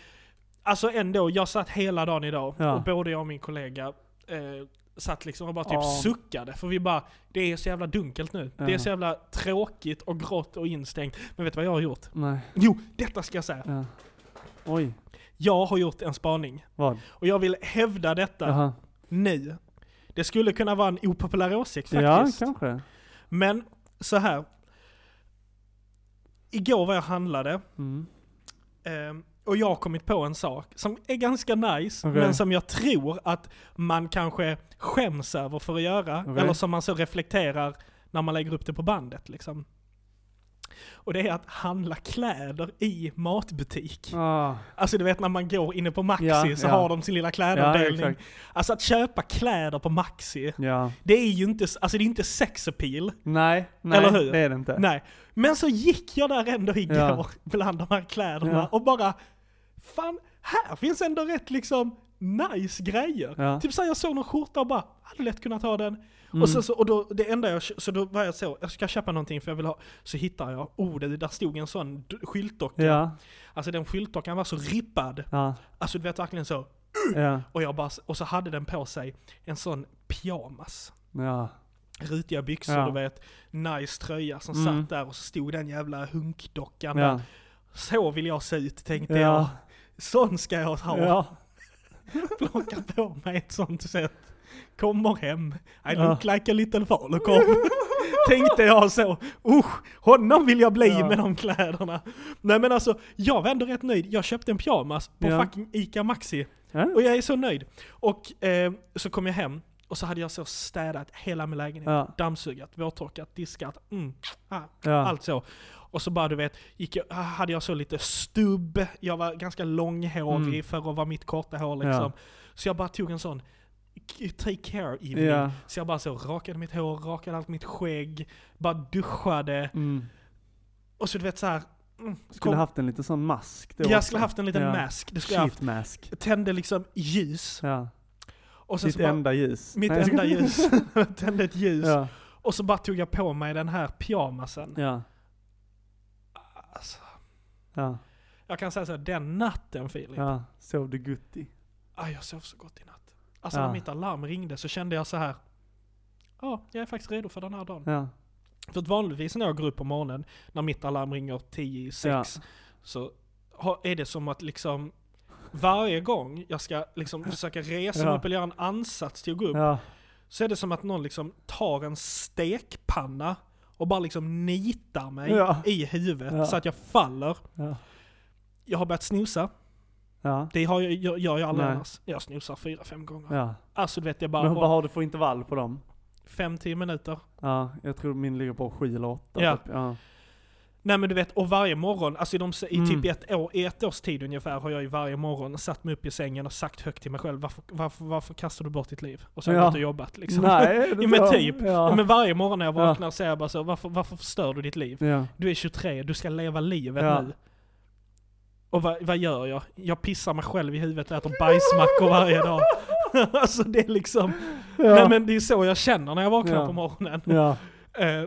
[SPEAKER 2] Alltså ändå, jag satt hela dagen idag
[SPEAKER 1] Ja.
[SPEAKER 2] och både jag och min kollega eh, satt liksom och bara typ
[SPEAKER 1] Ja.
[SPEAKER 2] suckade. För vi bara, det är så jävla dunkelt nu. Det är
[SPEAKER 1] Ja.
[SPEAKER 2] så jävla tråkigt och grått och instängt. Men vet du vad jag har gjort?
[SPEAKER 1] Nej.
[SPEAKER 2] Jo, detta ska jag säga.
[SPEAKER 1] Ja. Oj,
[SPEAKER 2] Jag har gjort en spaning.
[SPEAKER 1] vad?
[SPEAKER 2] Och jag vill hävda detta
[SPEAKER 1] Jaha.
[SPEAKER 2] nu. Det skulle kunna vara en opopulär åsikt
[SPEAKER 1] Ja,
[SPEAKER 2] faktiskt.
[SPEAKER 1] kanske.
[SPEAKER 2] Men så här. Igår var jag handlade
[SPEAKER 1] Mm.
[SPEAKER 2] ehm, och jag har kommit på en sak som är ganska nice
[SPEAKER 1] Okej.
[SPEAKER 2] men som jag tror att man kanske skäms över för att göra.
[SPEAKER 1] Okej.
[SPEAKER 2] Eller som man så reflekterar när man lägger upp det på bandet liksom. Och det är att handla kläder i matbutik.
[SPEAKER 1] Ah,
[SPEAKER 2] Alltså du vet när man går inne på Maxi
[SPEAKER 1] Ja,
[SPEAKER 2] så
[SPEAKER 1] ja.
[SPEAKER 2] har de sin lilla
[SPEAKER 1] Ja,
[SPEAKER 2] klädavdelning.
[SPEAKER 1] exakt.
[SPEAKER 2] alltså att köpa kläder på Maxi,
[SPEAKER 1] ja.
[SPEAKER 2] det är ju inte, alltså det är inte sex appeal.
[SPEAKER 1] Nej, nej
[SPEAKER 2] Eller hur?
[SPEAKER 1] det är det inte.
[SPEAKER 2] Nej. Men så gick jag där ändå igår
[SPEAKER 1] Ja.
[SPEAKER 2] bland de här kläderna
[SPEAKER 1] Ja.
[SPEAKER 2] och bara, fan, här finns ändå rätt liksom nice grejer.
[SPEAKER 1] Ja.
[SPEAKER 2] Typ såhär, jag såg någon skjorta och bara, hade lätt kunnat ha den.
[SPEAKER 1] Mm.
[SPEAKER 2] Och, sen så, och då, det enda jag, så då var jag så, jag ska köpa någonting för jag vill ha, så hittar jag, oh, det, där stod en sån d- skyltdocka.
[SPEAKER 1] Ja,
[SPEAKER 2] Alltså den skyltdockan var så rippad.
[SPEAKER 1] ja,
[SPEAKER 2] Alltså du vet verkligen så,
[SPEAKER 1] ja,
[SPEAKER 2] och, jag bara, och så hade den på sig en sån pyjamas.
[SPEAKER 1] ja.
[SPEAKER 2] Rutiga byxor,
[SPEAKER 1] Ja.
[SPEAKER 2] du vet, nice tröja som
[SPEAKER 1] Mm.
[SPEAKER 2] satt där och så stod den jävla hunkdockan där.
[SPEAKER 1] Ja,
[SPEAKER 2] Så vill jag se ut tänkte jag.
[SPEAKER 1] ja,
[SPEAKER 2] Sån ska jag ha.
[SPEAKER 1] ja.
[SPEAKER 2] Plocka på mig ett sånt sätt. Kommer hem, I
[SPEAKER 1] Ja.
[SPEAKER 2] look like a little falukorv. tänkte jag så. Usch, honom vill jag bli
[SPEAKER 1] Ja.
[SPEAKER 2] med de kläderna. Nej men alltså, jag var ändå rätt nöjd. Jag köpte en pyjamas på
[SPEAKER 1] Ja.
[SPEAKER 2] fucking ICA Maxi.
[SPEAKER 1] Ja.
[SPEAKER 2] Och jag är så nöjd. Och eh, så kom jag hem Och så hade jag så städat hela min lägenhet.
[SPEAKER 1] Ja.
[SPEAKER 2] Dammsugat, vårtorkat, diskat, mm, ah,
[SPEAKER 1] Ja.
[SPEAKER 2] allt så. Och så bara du vet, gick jag, ah, hade jag så lite stubb, jag var ganska långhårig
[SPEAKER 1] Mm.
[SPEAKER 2] för att vara mitt korta hår
[SPEAKER 1] Ja.
[SPEAKER 2] liksom. Så jag bara tog en sån k- take care evening.
[SPEAKER 1] Ja.
[SPEAKER 2] Så jag bara så rakade mitt hår, rakade allt mitt skägg, bara duschade.
[SPEAKER 1] Mm.
[SPEAKER 2] Och så du vet såhär, mm,
[SPEAKER 1] Skulle
[SPEAKER 2] kom-
[SPEAKER 1] haft en liten sån mask då
[SPEAKER 2] jag
[SPEAKER 1] också.
[SPEAKER 2] skulle haft en liten
[SPEAKER 1] Ja.
[SPEAKER 2] mask. Det skulle jag haft.
[SPEAKER 1] Sheet mask.
[SPEAKER 2] Tände liksom ljus.
[SPEAKER 1] Ja.
[SPEAKER 2] Och sen
[SPEAKER 1] Ditt
[SPEAKER 2] så bara,
[SPEAKER 1] enda ljus.
[SPEAKER 2] mitt
[SPEAKER 1] Nej, jag
[SPEAKER 2] enda
[SPEAKER 1] skojar.
[SPEAKER 2] ljus. Tände ett ljus.
[SPEAKER 1] Ja.
[SPEAKER 2] Och så bara tog jag på mig den här pyjamasen.
[SPEAKER 1] Ja.
[SPEAKER 2] Alltså,
[SPEAKER 1] Ja.
[SPEAKER 2] jag kan säga så här, den natten Filip,
[SPEAKER 1] Ja. Sov du gutti?
[SPEAKER 2] ah, jag sov så gott i natt. Alltså
[SPEAKER 1] Ja.
[SPEAKER 2] när mitt alarm ringde så kände jag så här. Ja, jag är faktiskt redo för den här dagen.
[SPEAKER 1] Ja.
[SPEAKER 2] För att vanligtvis när jag går upp på morgonen, när mitt alarm ringer 10 i 6, så har- är det som att liksom varje gång jag ska liksom försöka resa mig
[SPEAKER 1] Ja.
[SPEAKER 2] upp eller göra en ansats till att gå upp,
[SPEAKER 1] Ja.
[SPEAKER 2] så är det som att någon liksom tar en stekpanna och bara liksom nitar mig
[SPEAKER 1] Ja.
[SPEAKER 2] i huvudet
[SPEAKER 1] Ja.
[SPEAKER 2] så att jag faller.
[SPEAKER 1] Ja.
[SPEAKER 2] Jag har börjat snusa.
[SPEAKER 1] Ja.
[SPEAKER 2] Det har jag, gör gör jag aldrig
[SPEAKER 1] Nej.
[SPEAKER 2] annars. Jag snusar fyra, fem gånger.
[SPEAKER 1] ja.
[SPEAKER 2] Alltså du vet, jag
[SPEAKER 1] Men vad
[SPEAKER 2] bara
[SPEAKER 1] har du för intervall på dem?
[SPEAKER 2] fem, tio minuter.
[SPEAKER 1] Ja, jag tror min ligger på sju eller åtta.
[SPEAKER 2] Ja.
[SPEAKER 1] Typ. Ja.
[SPEAKER 2] Nej men du vet, och varje morgon, alltså i, de, i
[SPEAKER 1] Mm.
[SPEAKER 2] typ ett, år, i ett års tid ungefär har jag ju varje morgon satt mig upp i sängen och sagt högt till mig själv varför, varför, varför kastar du bort ditt liv? Och så har jag
[SPEAKER 1] Ja.
[SPEAKER 2] gått och jobbat liksom.
[SPEAKER 1] Nej, det
[SPEAKER 2] Jo, men
[SPEAKER 1] tror jag.
[SPEAKER 2] typ.
[SPEAKER 1] Ja.
[SPEAKER 2] Ja, men varje morgon när jag
[SPEAKER 1] Ja.
[SPEAKER 2] vaknar säger jag bara så, varför, varför förstör du ditt liv?
[SPEAKER 1] ja.
[SPEAKER 2] Du är 23, du ska leva livet
[SPEAKER 1] Ja.
[SPEAKER 2] nu. Och vad, vad gör jag? Jag pissar mig själv i huvudet och äter bajsmackor varje dag. alltså det är liksom, nej men det är så jag känner när jag vaknar
[SPEAKER 1] Ja.
[SPEAKER 2] på morgonen.
[SPEAKER 1] Ja.
[SPEAKER 2] Eh,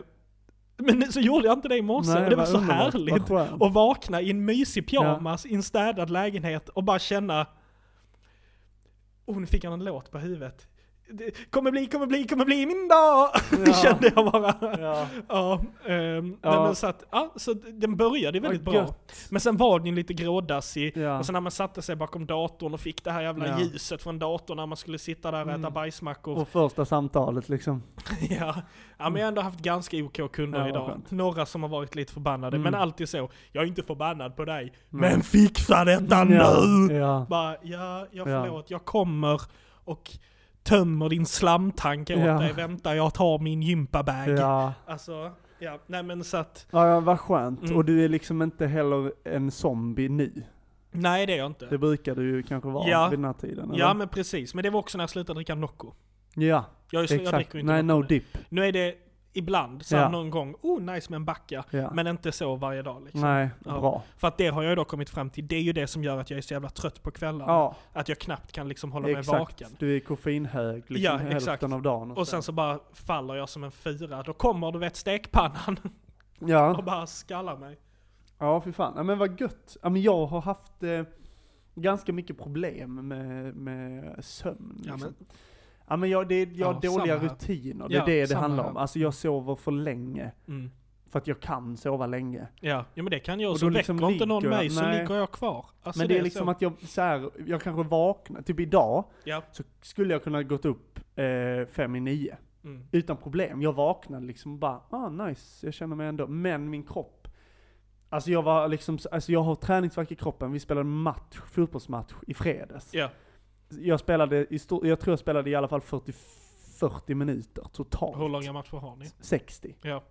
[SPEAKER 2] men så gjorde jag inte det i morse, och det var
[SPEAKER 1] vad
[SPEAKER 2] så
[SPEAKER 1] underbart. Vad
[SPEAKER 2] härligt.
[SPEAKER 1] skönt.
[SPEAKER 2] Och vakna i en mysig pyjamas i en städad lägenhet och bara känna... Oh, nu fick han en låt på huvudet. Det kommer bli, kommer bli, kommer bli min dag!
[SPEAKER 1] Ja.
[SPEAKER 2] kände jag bara. Ja,
[SPEAKER 1] Ja.
[SPEAKER 2] ehm, Nej,
[SPEAKER 1] Ja.
[SPEAKER 2] men så, att, ja, så att den började väldigt
[SPEAKER 1] Vad
[SPEAKER 2] bra. Men sen var den ju lite grådassig.
[SPEAKER 1] Ja.
[SPEAKER 2] Och sen när man satte sig bakom datorn och fick det här jävla
[SPEAKER 1] Ja.
[SPEAKER 2] ljuset från datorn när man skulle sitta där och äta
[SPEAKER 1] Mm.
[SPEAKER 2] bajsmackor.
[SPEAKER 1] Och första samtalet liksom.
[SPEAKER 2] Ja. ja, men jag har ändå haft ganska OK kunder
[SPEAKER 1] Ja, vad
[SPEAKER 2] idag.
[SPEAKER 1] skönt.
[SPEAKER 2] Några som har varit lite förbannade,
[SPEAKER 1] Mm.
[SPEAKER 2] men alltid så. Jag är inte förbannad på dig,
[SPEAKER 1] Nej.
[SPEAKER 2] men fixa detta nu!
[SPEAKER 1] Mm. Ja.
[SPEAKER 2] Mm. Bara, ja, jag
[SPEAKER 1] Ja.
[SPEAKER 2] förlåt, jag kommer och tömmer din slamtank åt
[SPEAKER 1] Ja.
[SPEAKER 2] dig. Vänta, jag tar min gympabag.
[SPEAKER 1] Ja.
[SPEAKER 2] Alltså, ja, nej men så att,
[SPEAKER 1] Ja, ja, vad skönt.
[SPEAKER 2] Mm.
[SPEAKER 1] Och du är liksom inte heller en zombie nu.
[SPEAKER 2] nej det är jag inte.
[SPEAKER 1] Det brukar du ju kanske vara
[SPEAKER 2] Ja.
[SPEAKER 1] vid den här tiden.
[SPEAKER 2] ja
[SPEAKER 1] eller?
[SPEAKER 2] men precis, men det var också när jag slutade dricka Nocco.
[SPEAKER 1] ja
[SPEAKER 2] Jag, jag
[SPEAKER 1] exakt.
[SPEAKER 2] dricker ju inte
[SPEAKER 1] Nej,
[SPEAKER 2] Nocco
[SPEAKER 1] no
[SPEAKER 2] nu.
[SPEAKER 1] dip.
[SPEAKER 2] Nu är det ibland, så här,
[SPEAKER 1] Ja.
[SPEAKER 2] någon gång, oh nice med en backa.
[SPEAKER 1] Ja.
[SPEAKER 2] Men inte så varje dag liksom.
[SPEAKER 1] Nej,
[SPEAKER 2] Ja.
[SPEAKER 1] bra.
[SPEAKER 2] För att det har jag ju då kommit fram till, det är ju det som gör att jag är så jävla trött på kvällarna.
[SPEAKER 1] Ja,
[SPEAKER 2] Att jag knappt kan liksom hålla mig
[SPEAKER 1] exakt.
[SPEAKER 2] vaken.
[SPEAKER 1] Du är koffeinhög liksom
[SPEAKER 2] Ja,
[SPEAKER 1] hälften
[SPEAKER 2] exakt.
[SPEAKER 1] av dagen.
[SPEAKER 2] Och sen så bara faller jag som en fyra. Då kommer du vet stekpannan och
[SPEAKER 1] Ja,
[SPEAKER 2] bara skallar mig.
[SPEAKER 1] ja fy fan. Ja, men vad gött. Ja, men jag har haft eh, ganska mycket problem med, med sömn.
[SPEAKER 2] Ja,
[SPEAKER 1] liksom. Ja, men jag, det, är- jag har
[SPEAKER 2] Ja,
[SPEAKER 1] dåliga
[SPEAKER 2] samma här.
[SPEAKER 1] rutiner. Det är
[SPEAKER 2] Ja,
[SPEAKER 1] det det
[SPEAKER 2] samma
[SPEAKER 1] handlar om.
[SPEAKER 2] här.
[SPEAKER 1] Alltså jag sover för länge.
[SPEAKER 2] Mm.
[SPEAKER 1] För att jag kan sova länge.
[SPEAKER 2] Ja. ja men det kan
[SPEAKER 1] Och
[SPEAKER 2] jag.
[SPEAKER 1] då
[SPEAKER 2] Så väcker
[SPEAKER 1] liksom
[SPEAKER 2] inte någon
[SPEAKER 1] ligger jag-
[SPEAKER 2] mig så
[SPEAKER 1] nej.
[SPEAKER 2] ligger jag kvar. Alltså,
[SPEAKER 1] men det är liksom
[SPEAKER 2] så.
[SPEAKER 1] att jag så här, jag kanske vaknar, typ idag,
[SPEAKER 2] Ja.
[SPEAKER 1] så skulle jag kunna gått upp eh, fem i nio.
[SPEAKER 2] Mm.
[SPEAKER 1] Utan problem. Jag vaknade liksom och bara, ah nice, jag känner mig ändå. Men min kropp. Alltså jag var liksom, alltså jag har träningsvärk i kroppen. Vi spelade match, fotbollsmatch i fredags.
[SPEAKER 2] Ja.
[SPEAKER 1] Jag spelade, i stor, jag tror jag spelade i alla fall 40, 40 minuter totalt.
[SPEAKER 2] Hur långa matcher har ni?
[SPEAKER 1] 60.
[SPEAKER 2] Ja.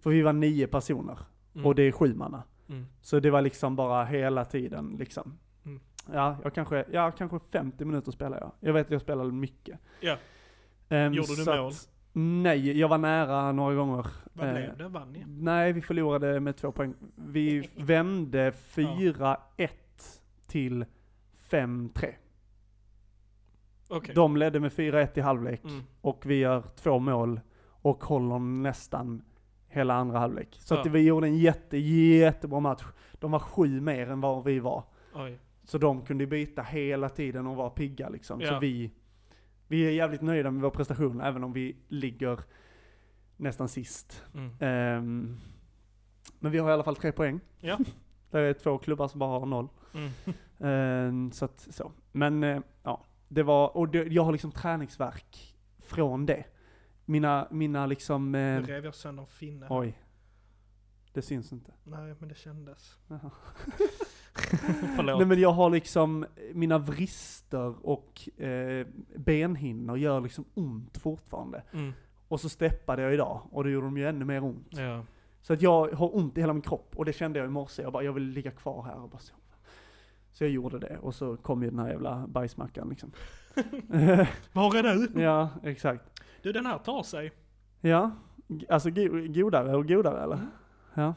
[SPEAKER 1] För vi var nio personer.
[SPEAKER 2] Mm.
[SPEAKER 1] Och det är sju manna.
[SPEAKER 2] Mm.
[SPEAKER 1] Så det var liksom bara hela tiden liksom.
[SPEAKER 2] Mm.
[SPEAKER 1] Ja, jag kanske, ja, kanske 50 minuter spelade jag. Jag vet att jag spelade mycket.
[SPEAKER 2] Ja.
[SPEAKER 1] Ehm,
[SPEAKER 2] Gjorde du
[SPEAKER 1] så
[SPEAKER 2] mål?
[SPEAKER 1] Att, nej, jag var nära några gånger.
[SPEAKER 2] Vad
[SPEAKER 1] Eh,
[SPEAKER 2] blev det? Vann ni?
[SPEAKER 1] Nej, vi förlorade med två poäng. Vi vände 4-1 till 5-3.
[SPEAKER 2] Okej.
[SPEAKER 1] De ledde med 4-1 i halvlek
[SPEAKER 2] Mm.
[SPEAKER 1] och vi gör två mål och håller nästan hela andra halvlek. Så
[SPEAKER 2] Ja.
[SPEAKER 1] att vi gjorde en jätte, jättebra match. De var sju mer än vad vi var.
[SPEAKER 2] Oj.
[SPEAKER 1] Så de kunde byta hela tiden och vara pigga liksom. Så
[SPEAKER 2] Ja.
[SPEAKER 1] vi, vi är jävligt nöjda med vår prestation även om vi ligger nästan sist.
[SPEAKER 2] Mm.
[SPEAKER 1] Ehm, men vi har i alla fall tre poäng.
[SPEAKER 2] Ja.
[SPEAKER 1] Det är två klubbar som bara har noll.
[SPEAKER 2] Mm.
[SPEAKER 1] Ehm, så att, så. Men eh, ja, det var, och det, jag har liksom träningsverk från det. Mina, mina liksom,
[SPEAKER 2] Nu
[SPEAKER 1] eh,
[SPEAKER 2] rev jag sönder en finne.
[SPEAKER 1] oj. Det syns inte.
[SPEAKER 2] Nej men det kändes.
[SPEAKER 1] Jaha.
[SPEAKER 2] Förlåt.
[SPEAKER 1] Nej men jag har liksom, mina vrister och eh, benhinnor gör liksom ont fortfarande.
[SPEAKER 2] Mm.
[SPEAKER 1] Och så steppade jag idag och då gjorde de ju ännu mer ont.
[SPEAKER 2] Ja.
[SPEAKER 1] Så att jag har ont i hela min kropp och det kände jag i morse. Jag bara, jag vill ligga kvar här och bara sova. Så jag gjorde det och så kom ju den här jävla bajsmackan liksom.
[SPEAKER 2] Var är du?
[SPEAKER 1] ja, exakt.
[SPEAKER 2] Du den här tar sig.
[SPEAKER 1] Ja, g- alltså go- godare och godare eller? Ja.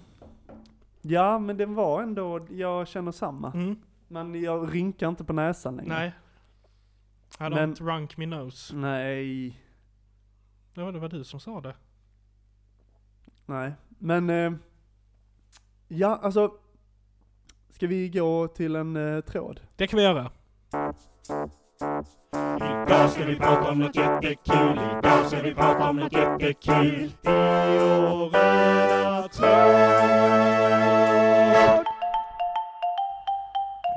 [SPEAKER 1] Ja, men den var ändå, jag känner samma.
[SPEAKER 2] Mm.
[SPEAKER 1] Men jag rynkar inte på näsan längre.
[SPEAKER 2] Nej. I don't
[SPEAKER 1] Men- Mm.
[SPEAKER 2] runk me nose.
[SPEAKER 1] Nej.
[SPEAKER 2] Ja, det var du som sa det.
[SPEAKER 1] Nej, men... Eh, ja, alltså... Ska vi gå till en eh, tråd?
[SPEAKER 2] Det kan vi göra.
[SPEAKER 4] Idag ska vi prata om något jättekul. Idag ska vi prata om något jättekul. I vår röda tråd.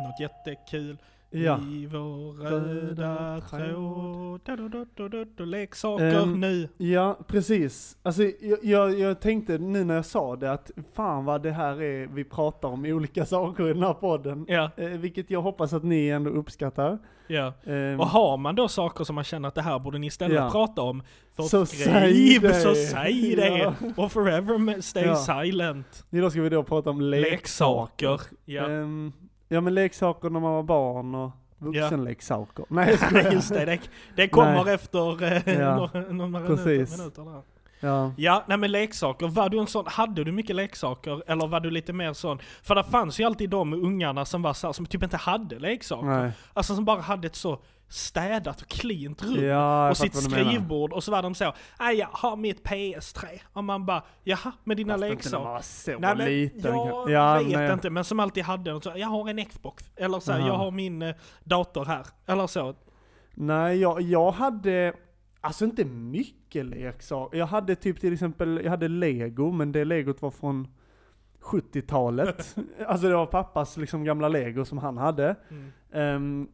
[SPEAKER 2] Något jättekul.
[SPEAKER 1] Ja.
[SPEAKER 2] I vår
[SPEAKER 1] Röda
[SPEAKER 2] röda
[SPEAKER 1] tråd.
[SPEAKER 2] tråd. Da, da, da, da, da, da. Leksaker
[SPEAKER 1] Ehm,
[SPEAKER 2] nu.
[SPEAKER 1] Ja, precis. Alltså, jag, jag, jag tänkte nu när jag sa det att fan vad det här är, vi pratar om olika saker i den här podden.
[SPEAKER 2] Ja,
[SPEAKER 1] Eh, vilket jag hoppas att ni ändå uppskattar.
[SPEAKER 2] ja.
[SPEAKER 1] Ehm,
[SPEAKER 2] Och har man då saker som man känner att det här borde ni istället
[SPEAKER 1] Ja.
[SPEAKER 2] prata om, så,
[SPEAKER 1] Så säg
[SPEAKER 2] skriv
[SPEAKER 1] det.
[SPEAKER 2] så säg det!
[SPEAKER 1] Ja.
[SPEAKER 2] Och forever ma- stay
[SPEAKER 1] Ja.
[SPEAKER 2] silent.
[SPEAKER 1] Idag ska vi då prata om leksaker.
[SPEAKER 2] Leksaker. Ja.
[SPEAKER 1] Ehm, ja men leksaker när man var barn och vuxenleksaker. Nej, jag skojar.
[SPEAKER 2] Nej, just det, det, det kommer
[SPEAKER 1] Nej.
[SPEAKER 2] efter eh,
[SPEAKER 1] Ja.
[SPEAKER 2] några, några
[SPEAKER 1] Precis.
[SPEAKER 2] minuter. minuter där.
[SPEAKER 1] Ja.
[SPEAKER 2] Ja, nej men leksaker. Var du en sån, hade du mycket leksaker? Eller var du lite mer sån? För det fanns ju alltid de ungarna som var så här, som typ inte hade leksaker.
[SPEAKER 1] Nej.
[SPEAKER 2] Alltså som bara hade ett så städat och klint rum.
[SPEAKER 1] Ja, jag
[SPEAKER 2] Typ. och sitt
[SPEAKER 1] fattar vad du menar.
[SPEAKER 2] skrivbord och så var de så "Aj, jag har mitt PS3. Och man bara, jaha, med dina
[SPEAKER 1] Fast inte när man
[SPEAKER 2] leksaker.
[SPEAKER 1] var så
[SPEAKER 2] Nej men
[SPEAKER 1] liten.
[SPEAKER 2] jag
[SPEAKER 1] Ja,
[SPEAKER 2] vet
[SPEAKER 1] nej.
[SPEAKER 2] inte, men som alltid hade något så, jag har en Xbox. Eller så,
[SPEAKER 1] Aha.
[SPEAKER 2] jag har min eh, dator här. Eller så.
[SPEAKER 1] Nej, jag, jag hade, alltså inte mycket leksaker. Jag hade typ till exempel, jag hade lego, men det legot var från 70-talet. alltså det var pappas liksom gamla lego som han hade.
[SPEAKER 2] Mm.
[SPEAKER 1] Ehm,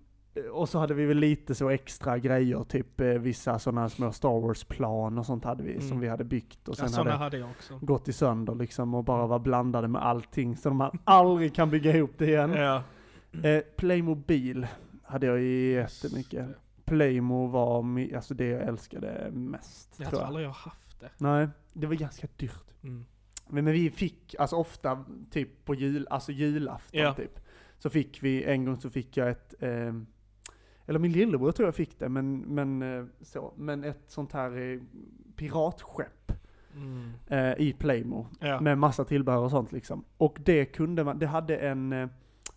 [SPEAKER 1] och så hade vi väl lite så extra grejer, typ eh, vissa sådana små Star Wars-plan och sånt hade vi,
[SPEAKER 2] Mm.
[SPEAKER 1] som vi hade byggt. Och
[SPEAKER 2] Ja, Mm.
[SPEAKER 1] sen
[SPEAKER 2] sådana
[SPEAKER 1] hade
[SPEAKER 2] hade jag också.
[SPEAKER 1] gått i sönder liksom och bara var blandade med allting så man aldrig kan bygga ihop det igen.
[SPEAKER 2] Ja. Mm.
[SPEAKER 1] Eh, Playmobil hade jag jättemycket. Playmo var mi- alltså det jag älskade mest.
[SPEAKER 2] Jag tror aldrig jag har haft det.
[SPEAKER 1] Nej, det var ganska dyrt.
[SPEAKER 2] Mm.
[SPEAKER 1] Men, men vi fick, alltså ofta typ på jul, alltså julafton
[SPEAKER 2] Ja.
[SPEAKER 1] typ. Så fick vi, en gång så fick jag ett, eh, eller min lillebror tror jag fick det, men, men eh, så. Men ett sånt här eh, piratskepp
[SPEAKER 2] Mm.
[SPEAKER 1] eh, i Playmo.
[SPEAKER 2] Ja.
[SPEAKER 1] Med massa tillbehör och sånt liksom. Och det kunde man, det hade en eh,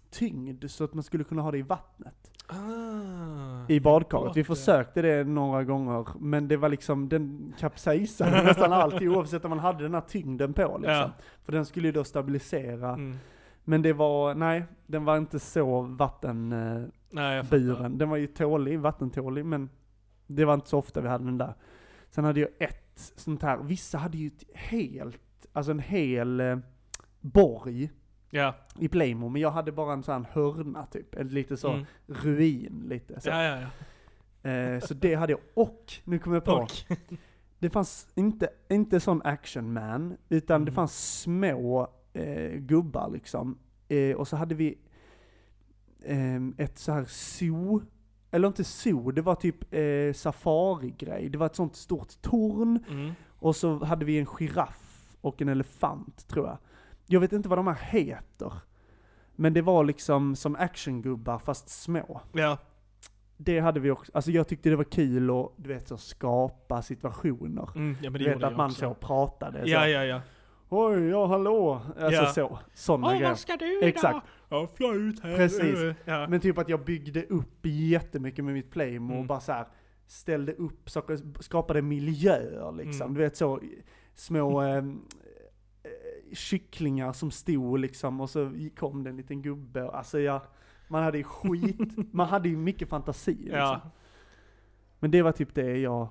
[SPEAKER 1] tyngd så att man skulle kunna ha det i vattnet.
[SPEAKER 2] Ah.
[SPEAKER 1] i badkaret. Vi
[SPEAKER 2] Klart det.
[SPEAKER 1] försökte det några gånger, men det var liksom, den kapsejsade nästan alltid oavsett om man hade den här tyngden på liksom.
[SPEAKER 2] Ja.
[SPEAKER 1] För den skulle ju då stabilisera.
[SPEAKER 2] Mm.
[SPEAKER 1] Men det var, nej, den var inte så vattenburen.
[SPEAKER 2] Nej, jag fattar.
[SPEAKER 1] Den var ju tålig, vattentålig, men det var inte så ofta vi hade den där. Sen hade jag ett sånt här, vissa hade ju ett helt, alltså en hel eh, borg
[SPEAKER 2] Ja.
[SPEAKER 1] i Playmo, men jag hade bara en sån här hörna typ, en lite så
[SPEAKER 2] Mm.
[SPEAKER 1] ruin lite. Så.
[SPEAKER 2] ja, ja, ja.
[SPEAKER 1] Eh, så det hade jag. Och, nu kommer jag på.
[SPEAKER 2] Och,
[SPEAKER 1] Det fanns inte, inte sån action man, utan det
[SPEAKER 2] Mm.
[SPEAKER 1] fanns små eh, gubbar liksom. Eh, och så hade vi ehm, ett så här zoo, eller inte zoo, det var typ eh, safarigrej. Det var ett sånt stort torn,
[SPEAKER 2] mm.
[SPEAKER 1] och så hade vi en giraff och en elefant tror jag. Jag vet inte vad de här heter. Men det var liksom som actiongubbar fast små
[SPEAKER 2] ja.
[SPEAKER 1] det hade vi också, alltså jag tyckte det var kul att, du vet så skapa situationer.
[SPEAKER 2] Mm. ja, men det
[SPEAKER 1] du vet
[SPEAKER 2] gjorde
[SPEAKER 1] att
[SPEAKER 2] jag
[SPEAKER 1] man
[SPEAKER 2] också.
[SPEAKER 1] så pratade.
[SPEAKER 2] Ja,
[SPEAKER 1] så,
[SPEAKER 2] ja, ja.
[SPEAKER 1] Oj, ja hallå. Alltså
[SPEAKER 2] Ja.
[SPEAKER 1] så. Sådana
[SPEAKER 2] Åh,
[SPEAKER 1] grejer.
[SPEAKER 2] vad ska du idag?
[SPEAKER 1] Exakt.
[SPEAKER 2] Ja, fly ut här.
[SPEAKER 1] Precis.
[SPEAKER 2] Ja.
[SPEAKER 1] Men typ att jag byggde upp jättemycket med mitt Playmo och
[SPEAKER 2] Mm.
[SPEAKER 1] bara så här ställde upp saker, skapade miljöer liksom.
[SPEAKER 2] Mm.
[SPEAKER 1] Du vet så små eh, kycklingar som stod liksom och så kom det en liten gubbe. och- Alltså jag, man hade ju skit, man hade ju mycket fantasi liksom.
[SPEAKER 2] Ja.
[SPEAKER 1] Men det var typ det jag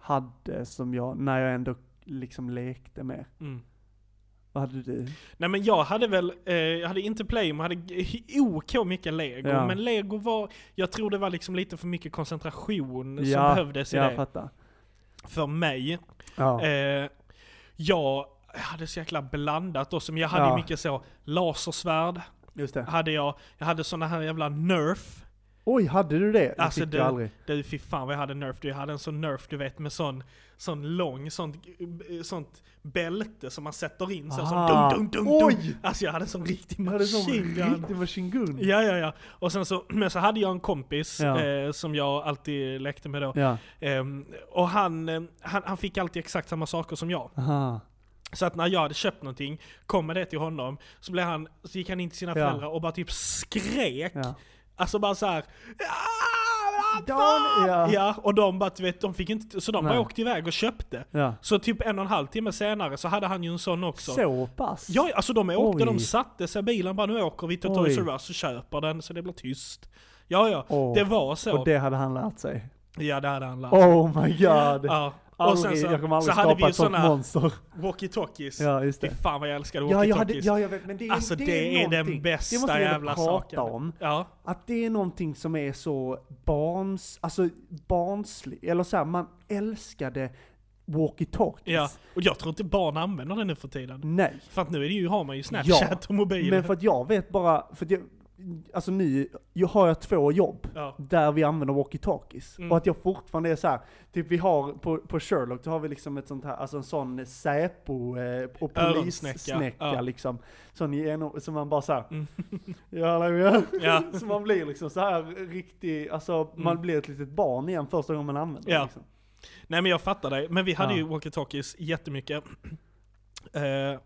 [SPEAKER 1] hade som jag, när jag ändå liksom lekte med.
[SPEAKER 2] Mm.
[SPEAKER 1] Vad hade du?
[SPEAKER 2] Nej men jag hade väl, eh, jag hade inte play, men jag hade g- OK mycket lego.
[SPEAKER 1] Ja.
[SPEAKER 2] Men lego var, jag tror det var liksom lite för mycket koncentration som
[SPEAKER 1] Ja,
[SPEAKER 2] behövdes i
[SPEAKER 1] jag
[SPEAKER 2] det.
[SPEAKER 1] fattar.
[SPEAKER 2] För mig.
[SPEAKER 1] Ja.
[SPEAKER 2] Eh, jag hade så jäkla blandat då, som jag hade
[SPEAKER 1] Ja.
[SPEAKER 2] mycket så, lasersvärd,
[SPEAKER 1] Just det.
[SPEAKER 2] hade jag, jag hade såna här jävla nerf.
[SPEAKER 1] Oj, hade du det? Det
[SPEAKER 2] Alltså,
[SPEAKER 1] fick
[SPEAKER 2] du-
[SPEAKER 1] jag aldrig.
[SPEAKER 2] Du fy fan vad jag hade nerf, du, jag hade en sån nerf du vet med sån, sån lång, sånt, sånt bälte som man sätter in sen som
[SPEAKER 1] Ah.
[SPEAKER 2] dum, dum, dum,
[SPEAKER 1] Oj!
[SPEAKER 2] dum. Alltså jag hade en sån
[SPEAKER 1] Du
[SPEAKER 2] riktig
[SPEAKER 1] hade en sån
[SPEAKER 2] machine gun.
[SPEAKER 1] riktig machine gun.
[SPEAKER 2] Ja, ja, ja. Och sen så, men så hade jag en kompis
[SPEAKER 1] Ja.
[SPEAKER 2] eh, som jag alltid lekte med då.
[SPEAKER 1] Ja.
[SPEAKER 2] Ehm, och han, eh, han, han fick alltid exakt samma saker som jag.
[SPEAKER 1] Aha.
[SPEAKER 2] Så att när jag hade köpt någonting, kom med det till honom, så, blev han, så gick han in till sina
[SPEAKER 1] Ja.
[SPEAKER 2] föräldrar och bara typ skrek.
[SPEAKER 1] Ja.
[SPEAKER 2] Alltså bara så här. "Ah, vad
[SPEAKER 1] Dan-
[SPEAKER 2] fan!"
[SPEAKER 1] ja.
[SPEAKER 2] ja, och de bara, du vet, de fick inte, så de
[SPEAKER 1] Nej.
[SPEAKER 2] bara åkte iväg och köpte.
[SPEAKER 1] Ja.
[SPEAKER 2] Så typ en och en halv timme senare så hade han ju en sån också.
[SPEAKER 1] Så pass?
[SPEAKER 2] Ja, alltså de åkte,
[SPEAKER 1] Oj.
[SPEAKER 2] de satte sig i bilen bara nu åker vi till
[SPEAKER 1] Oj.
[SPEAKER 2] Toys R Us och köper den så det blir tyst. Ja, ja,
[SPEAKER 1] Åh.
[SPEAKER 2] det var så.
[SPEAKER 1] Och det hade han lärt sig.
[SPEAKER 2] Ja, det hade han lärt sig.
[SPEAKER 1] Oh my god!
[SPEAKER 2] Ja. Och
[SPEAKER 1] Aldrig,
[SPEAKER 2] sen så,
[SPEAKER 1] jag kommer
[SPEAKER 2] så
[SPEAKER 1] aldrig
[SPEAKER 2] hade vi
[SPEAKER 1] skapa
[SPEAKER 2] ju
[SPEAKER 1] ett sånt
[SPEAKER 2] såna
[SPEAKER 1] monster.
[SPEAKER 2] walkie-talkies.
[SPEAKER 1] Ja, just
[SPEAKER 2] Fy
[SPEAKER 1] det.
[SPEAKER 2] fan vad jag älskade
[SPEAKER 1] Ja, jag hade,
[SPEAKER 2] walkie-talkies.
[SPEAKER 1] ja, jag vet, men det är,
[SPEAKER 2] alltså det, är, den
[SPEAKER 1] någonting- det måste
[SPEAKER 2] bästa
[SPEAKER 1] vi ändå
[SPEAKER 2] jävla
[SPEAKER 1] prata
[SPEAKER 2] saken.
[SPEAKER 1] om.
[SPEAKER 2] Ja,
[SPEAKER 1] Att det är någonting som är så barns, alltså barnsligt, eller så här, man älskade walkie-talkies.
[SPEAKER 2] ja. Och jag tror inte barn använder den nu för tiden.
[SPEAKER 1] Nej.
[SPEAKER 2] För att nu är det ju, har man ju Snapchat och mobil.
[SPEAKER 1] Mm. Men för att jag vet bara, för att jag, alltså nu jag har jag två jobb
[SPEAKER 2] Ja.
[SPEAKER 1] där vi använder walkie-talkies.
[SPEAKER 2] Mm.
[SPEAKER 1] Och att jag fortfarande är så här, typ vi har på, på Sherlock, då har vi liksom ett sånt här, alltså en sån Säpo eh, och
[SPEAKER 2] Öronsnäcka.
[SPEAKER 1] polissnäcka
[SPEAKER 2] Ja.
[SPEAKER 1] liksom. Sån genom, som man bara så här,
[SPEAKER 2] Mm.
[SPEAKER 1] ja, hallå, ja.
[SPEAKER 2] Ja.
[SPEAKER 1] Så man blir liksom så här riktig, alltså man blir ett litet barn igen första gången man använder det.
[SPEAKER 2] Ja.
[SPEAKER 1] Liksom.
[SPEAKER 2] Nej men jag fattar dig, men vi hade
[SPEAKER 1] Ja.
[SPEAKER 2] ju walkie-talkies jättemycket. Eh,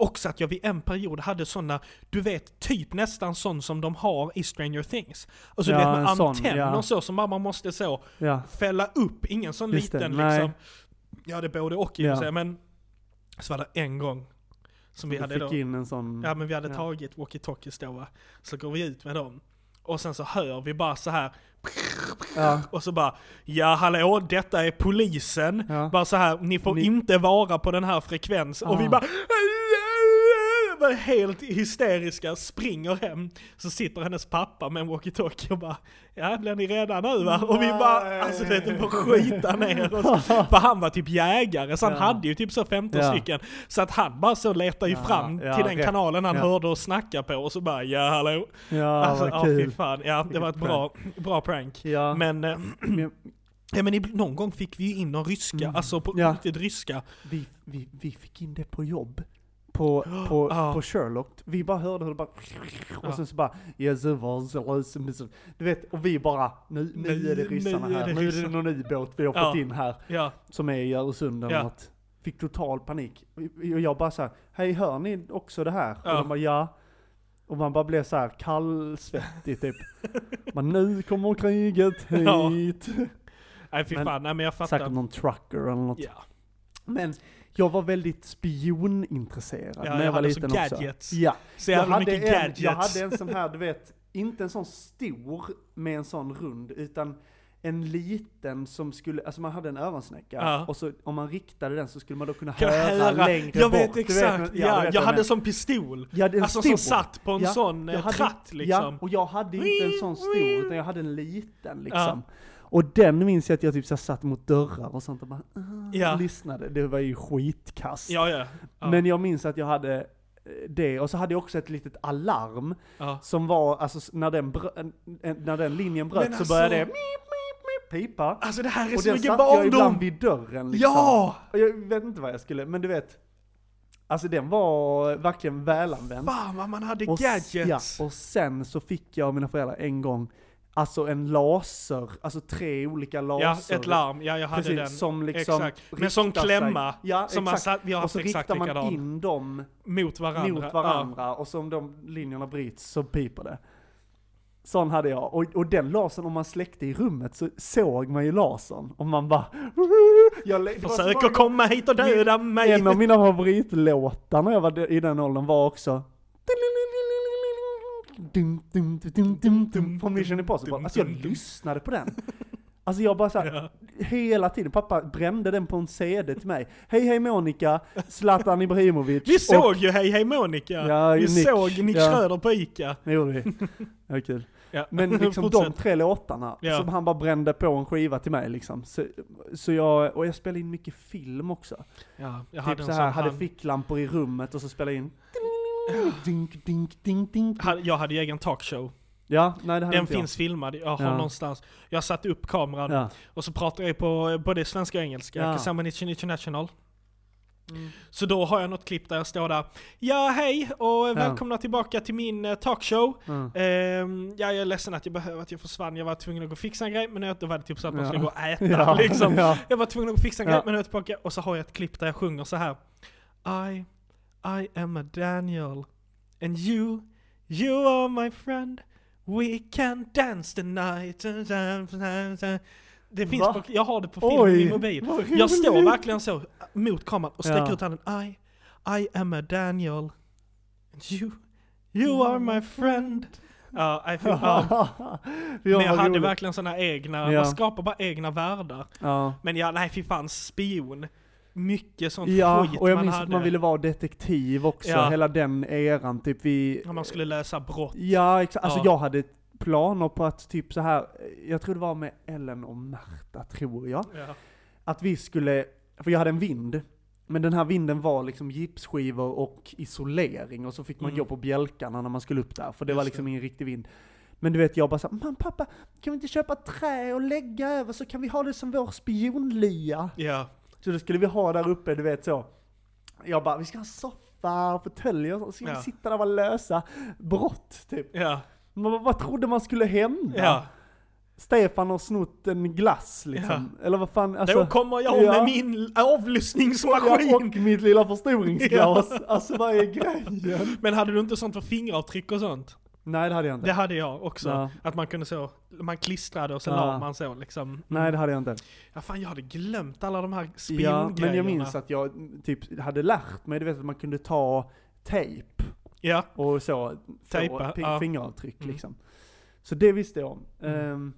[SPEAKER 2] också att jag vid en period hade sådana, du vet, typ nästan sån som de har i Stranger Things. Alltså
[SPEAKER 1] Ja,
[SPEAKER 2] du vet
[SPEAKER 1] en
[SPEAKER 2] med
[SPEAKER 1] sån,
[SPEAKER 2] antenner
[SPEAKER 1] ja.
[SPEAKER 2] och så som mamma måste så
[SPEAKER 1] Ja.
[SPEAKER 2] fälla upp, ingen sån
[SPEAKER 1] Just det,
[SPEAKER 2] liten
[SPEAKER 1] nej.
[SPEAKER 2] liksom. Ja det är både och i och
[SPEAKER 1] Ja.
[SPEAKER 2] för sig, men så var det en gång som vi
[SPEAKER 1] Vi
[SPEAKER 2] hade
[SPEAKER 1] fick
[SPEAKER 2] då.
[SPEAKER 1] in en sån,
[SPEAKER 2] Ja men vi hade
[SPEAKER 1] Ja.
[SPEAKER 2] tagit walkie-talkies då va. Så går vi ut med dem. Och sen så hör vi bara så här
[SPEAKER 1] ja.
[SPEAKER 2] och så bara Ja hallå, detta är polisen.
[SPEAKER 1] Ja.
[SPEAKER 2] Bara så här, ni får
[SPEAKER 1] Ni-
[SPEAKER 2] inte vara på den här frekvensen. Och
[SPEAKER 1] Ah.
[SPEAKER 2] vi bara bara Helt hysteriska, springer hem. Så sitter hennes pappa med en walkie-talkie och bara Ja, blir ni rädda nu va? Och vi
[SPEAKER 1] Nej.
[SPEAKER 2] bara, alltså det är bara skita ner oss. För han var typ jägare, så han
[SPEAKER 1] Ja.
[SPEAKER 2] hade ju typ så 15
[SPEAKER 1] Ja.
[SPEAKER 2] stycken. Så att han bara så letar ju
[SPEAKER 1] Ja,
[SPEAKER 2] fram
[SPEAKER 1] ja,
[SPEAKER 2] till den
[SPEAKER 1] rätt.
[SPEAKER 2] kanalen han
[SPEAKER 1] Ja.
[SPEAKER 2] hörde och snacka på och så bara ja hallå.
[SPEAKER 1] ja
[SPEAKER 2] alltså
[SPEAKER 1] vad kul.
[SPEAKER 2] fy fan. Ja, det
[SPEAKER 1] Vilket
[SPEAKER 2] var ett bra, bra prank.
[SPEAKER 1] Ja.
[SPEAKER 2] Men, eh,
[SPEAKER 1] Men- Mm.
[SPEAKER 2] ja, men ib- någon gång fick vi ju in någon ryska, alltså på
[SPEAKER 1] Ja.
[SPEAKER 2] riktigt ryska.
[SPEAKER 1] Vi, vi, vi fick in det på jobb. På, på,
[SPEAKER 2] Ah.
[SPEAKER 1] på Sherlock. Vi bara hörde hur det bara... Och
[SPEAKER 2] Ja.
[SPEAKER 1] sen så bara... "Yes, it was a loser miss-" Du vet, och vi bara... Nu, nu
[SPEAKER 2] Nu-
[SPEAKER 1] är det
[SPEAKER 2] nu
[SPEAKER 1] ryssarna
[SPEAKER 2] är
[SPEAKER 1] här.
[SPEAKER 2] det
[SPEAKER 1] Nu är det
[SPEAKER 2] ryssarna."
[SPEAKER 1] någon ny båt vi har
[SPEAKER 2] Ja.
[SPEAKER 1] fått in här.
[SPEAKER 2] Ja,
[SPEAKER 1] Som är i Öresund eller
[SPEAKER 2] Ja.
[SPEAKER 1] något. Fick total panik. Och jag bara såhär, hej hör ni också det här?
[SPEAKER 2] Ja.
[SPEAKER 1] Och de bara ja. Och man bara blev såhär kallsvettig typ. Men nu kommer kriget
[SPEAKER 2] Ja.
[SPEAKER 1] hit.
[SPEAKER 2] nej fy
[SPEAKER 1] Men-
[SPEAKER 2] fan, nej men jag
[SPEAKER 1] Säkert
[SPEAKER 2] fattar.
[SPEAKER 1] någon trucker eller något.
[SPEAKER 2] Ja.
[SPEAKER 1] Men jag var väldigt spionintresserad
[SPEAKER 2] Ja,
[SPEAKER 1] när jag
[SPEAKER 2] jag
[SPEAKER 1] var
[SPEAKER 2] hade
[SPEAKER 1] liten
[SPEAKER 2] så
[SPEAKER 1] också.
[SPEAKER 2] gadgets.
[SPEAKER 1] Ja.
[SPEAKER 2] Så jävla
[SPEAKER 1] hade
[SPEAKER 2] mycket
[SPEAKER 1] en,
[SPEAKER 2] gadgets.
[SPEAKER 1] jag hade en sån här, du vet, inte en sån stor med en sån rund, utan en liten som skulle, alltså man hade en öronsnäcka,
[SPEAKER 2] Ja.
[SPEAKER 1] och så om man riktade den så skulle man då kunna
[SPEAKER 2] Kan
[SPEAKER 1] höra,
[SPEAKER 2] höra.
[SPEAKER 1] längre
[SPEAKER 2] jag
[SPEAKER 1] bort.
[SPEAKER 2] vet
[SPEAKER 1] Du
[SPEAKER 2] exakt,
[SPEAKER 1] men- du
[SPEAKER 2] ja,
[SPEAKER 1] vet
[SPEAKER 2] jag
[SPEAKER 1] vad
[SPEAKER 2] hade
[SPEAKER 1] menar.
[SPEAKER 2] som pistol.
[SPEAKER 1] Jag hade en
[SPEAKER 2] alltså
[SPEAKER 1] stor.
[SPEAKER 2] som satt på en
[SPEAKER 1] Ja,
[SPEAKER 2] sån eh,
[SPEAKER 1] jag hade-
[SPEAKER 2] tratt liksom.
[SPEAKER 1] Ja, och jag hade inte en sån stor, utan jag hade en liten liksom. Och den minns jag att jag typ så här satt mot dörrar och sånt och bara ah,
[SPEAKER 2] Ja.
[SPEAKER 1] lyssnade. Det var ju skitkast.
[SPEAKER 2] Ja, ja. ja.
[SPEAKER 1] Men jag minns att jag hade eh, det, och så hade jag också ett litet alarm
[SPEAKER 2] ja.
[SPEAKER 1] som var, alltså s- när den, brö- en- en- när den linjen bröt
[SPEAKER 2] Men
[SPEAKER 1] så
[SPEAKER 2] alltså-
[SPEAKER 1] började det mip, mip, mip, pipa.
[SPEAKER 2] Alltså det här är
[SPEAKER 1] Och
[SPEAKER 2] så
[SPEAKER 1] den
[SPEAKER 2] mycket
[SPEAKER 1] satte jag ibland
[SPEAKER 2] barndom!
[SPEAKER 1] vid dörren liksom.
[SPEAKER 2] Ja!
[SPEAKER 1] Och jag vet inte vad jag skulle, men du vet. Alltså den var verkligen välanvänd.
[SPEAKER 2] Fan vad man hade
[SPEAKER 1] Och, s-
[SPEAKER 2] gadgets!
[SPEAKER 1] ja, och sen så fick jag av mina föräldrar en gång, alltså en laser, alltså tre olika
[SPEAKER 2] Ja,
[SPEAKER 1] laser.
[SPEAKER 2] ett larm. Ja, jag hade
[SPEAKER 1] Precis,
[SPEAKER 2] den.
[SPEAKER 1] som liksom
[SPEAKER 2] exakt. Men som
[SPEAKER 1] riktar
[SPEAKER 2] klämma.
[SPEAKER 1] sig- Ja,
[SPEAKER 2] som
[SPEAKER 1] exakt.
[SPEAKER 2] Man satt, vi har
[SPEAKER 1] Och
[SPEAKER 2] haft
[SPEAKER 1] så
[SPEAKER 2] exakt
[SPEAKER 1] riktar man
[SPEAKER 2] likadan.
[SPEAKER 1] in dem
[SPEAKER 2] mot varandra.
[SPEAKER 1] mot varandra och så om de linjerna bryts så piper det. Sån hade jag. Och, och den lasern, om man släckte i rummet så såg man ju lasern. Och man bara... Jag lä- det
[SPEAKER 2] Ja.
[SPEAKER 1] var så
[SPEAKER 2] Försök
[SPEAKER 1] många
[SPEAKER 2] att komma hit och döda mig!
[SPEAKER 1] en av mina favoritlåtar när jag var de- i den åldern var också dum, dum, dum, dum, dum, dum, från Mission Impossible. Alltså jag lyssnade på den. Alltså jag bara såhär, hela tiden, pappa brände den på en CD till mig. Hej hej Monica, Zlatan Ibrahimovic.
[SPEAKER 2] Vi såg
[SPEAKER 1] Och,
[SPEAKER 2] ju Hej Hej Monica!
[SPEAKER 1] Ja,
[SPEAKER 2] vi
[SPEAKER 1] Nick.
[SPEAKER 2] såg Nick
[SPEAKER 1] Ja.
[SPEAKER 2] Schröder på Ica.
[SPEAKER 1] det gjorde vi. Det var kul.
[SPEAKER 2] Ja.
[SPEAKER 1] Men liksom de
[SPEAKER 2] Fortsätt.
[SPEAKER 1] tre låtarna
[SPEAKER 2] Ja.
[SPEAKER 1] som han bara brände på en skiva till mig liksom. Så, så jag, och jag spelade in mycket film också.
[SPEAKER 2] Ja, jag hade
[SPEAKER 1] Typ
[SPEAKER 2] en
[SPEAKER 1] så
[SPEAKER 2] sån
[SPEAKER 1] här, hade
[SPEAKER 2] hand-
[SPEAKER 1] ficklampor i rummet och så spelade in Dink, dink, dink, dink.
[SPEAKER 2] Hade- Jag hade ju egen talkshow.
[SPEAKER 1] Ja, nej det hade
[SPEAKER 2] Den
[SPEAKER 1] inte
[SPEAKER 2] finns filmad, jag har
[SPEAKER 1] Ja.
[SPEAKER 2] någonstans. Jag satte upp kameran
[SPEAKER 1] jag. Ja.
[SPEAKER 2] och så pratar jag på både svenska och engelska.
[SPEAKER 1] Ja. Mm.
[SPEAKER 2] Kasama Nichi International. Så då har jag något klipp där jag står där. Ja, hej och välkomna tillbaka till min eh, talkshow.
[SPEAKER 1] Ja.
[SPEAKER 2] Ehm, ja, jag är ledsen att jag behöver att jag försvann. Jag var tvungen att gå och fixa en grej, men jag, då var det typ så att man
[SPEAKER 1] Ja.
[SPEAKER 2] skulle gå och äta.
[SPEAKER 1] Ja,
[SPEAKER 2] Liksom.
[SPEAKER 1] ja.
[SPEAKER 2] Jag var tvungen att gå och fixa en
[SPEAKER 1] Ja.
[SPEAKER 2] grej, men jag är tillbaka. Och så har jag ett klipp där jag sjunger så här. I, I am a Daniel. And you, you are my friend. We can dance tonight. Det finns
[SPEAKER 1] Va?
[SPEAKER 2] på, jag har det på film i min mobil.
[SPEAKER 1] vad
[SPEAKER 2] Jag står
[SPEAKER 1] roligt.
[SPEAKER 2] verkligen så mot kameran och sträcker
[SPEAKER 1] Ja.
[SPEAKER 2] ut handen. I, I am a Daniel. And you, you are my friend. Ja, I feel, ja.
[SPEAKER 1] Fy fan,
[SPEAKER 2] Men jag
[SPEAKER 1] vad
[SPEAKER 2] hade
[SPEAKER 1] roligt.
[SPEAKER 2] verkligen såna egna,
[SPEAKER 1] Ja.
[SPEAKER 2] man skapar bara egna världar.
[SPEAKER 1] Ja.
[SPEAKER 2] Men ja, nej fy fan, spion. Mycket sånt
[SPEAKER 1] Ja,
[SPEAKER 2] skit
[SPEAKER 1] och jag
[SPEAKER 2] man
[SPEAKER 1] minns
[SPEAKER 2] hade.
[SPEAKER 1] att man ville vara detektiv också,
[SPEAKER 2] Ja.
[SPEAKER 1] hela den eran. Typ vi...
[SPEAKER 2] När man skulle läsa brott.
[SPEAKER 1] Ja, exakt. Alltså
[SPEAKER 2] Ja.
[SPEAKER 1] jag hade planer på att typ så här jag tror det var med Ellen och Märta, tror jag.
[SPEAKER 2] Ja.
[SPEAKER 1] Att vi skulle, för jag hade en vind, men den här vinden var liksom gipsskivor och isolering och så fick man
[SPEAKER 2] Mm.
[SPEAKER 1] gå på bjälkarna när man skulle upp där, för det
[SPEAKER 2] Just
[SPEAKER 1] var
[SPEAKER 2] det.
[SPEAKER 1] liksom ingen riktig vind. Men du vet, jag bara såhär, man pappa, kan vi inte köpa trä och lägga över så kan vi ha det som vår spionlya?
[SPEAKER 2] ja.
[SPEAKER 1] Så då skulle vi ha där uppe, du vet så. Jag bara, vi ska ha en soffa och fåtöljer och så ska
[SPEAKER 2] Ja.
[SPEAKER 1] vi sitta där och bara lösa brott, typ.
[SPEAKER 2] Ja,
[SPEAKER 1] Man, bara, vad trodde man skulle hända?
[SPEAKER 2] ja.
[SPEAKER 1] Stefan har snott en glass liksom. Eller vad fan, alltså.
[SPEAKER 2] Då kommer jag
[SPEAKER 1] ja.
[SPEAKER 2] med min
[SPEAKER 1] Ja,
[SPEAKER 2] avlyssningsmaskin!
[SPEAKER 1] och mitt lilla förstoringsglas. Alltså vad är grejen?
[SPEAKER 2] Men hade du inte sånt för fingeravtryck och sånt?
[SPEAKER 1] Nej det hade jag inte.
[SPEAKER 2] Det hade jag också.
[SPEAKER 1] Ja.
[SPEAKER 2] Att man kunde så, man klistrade och så
[SPEAKER 1] Ja.
[SPEAKER 2] la man så liksom.
[SPEAKER 1] Nej det hade jag inte.
[SPEAKER 2] Ja fan jag hade glömt alla de här
[SPEAKER 1] Ja,
[SPEAKER 2] spiongrejerna.
[SPEAKER 1] men jag minns att jag mm, typ hade lärt mig, du vet att man kunde ta tejp
[SPEAKER 2] Ja,
[SPEAKER 1] och så.
[SPEAKER 2] Tejpa,
[SPEAKER 1] få pi-
[SPEAKER 2] ja.
[SPEAKER 1] Fingeravtryck
[SPEAKER 2] Mm.
[SPEAKER 1] liksom. Så det visste jag om.
[SPEAKER 2] Mm.
[SPEAKER 1] Ehm,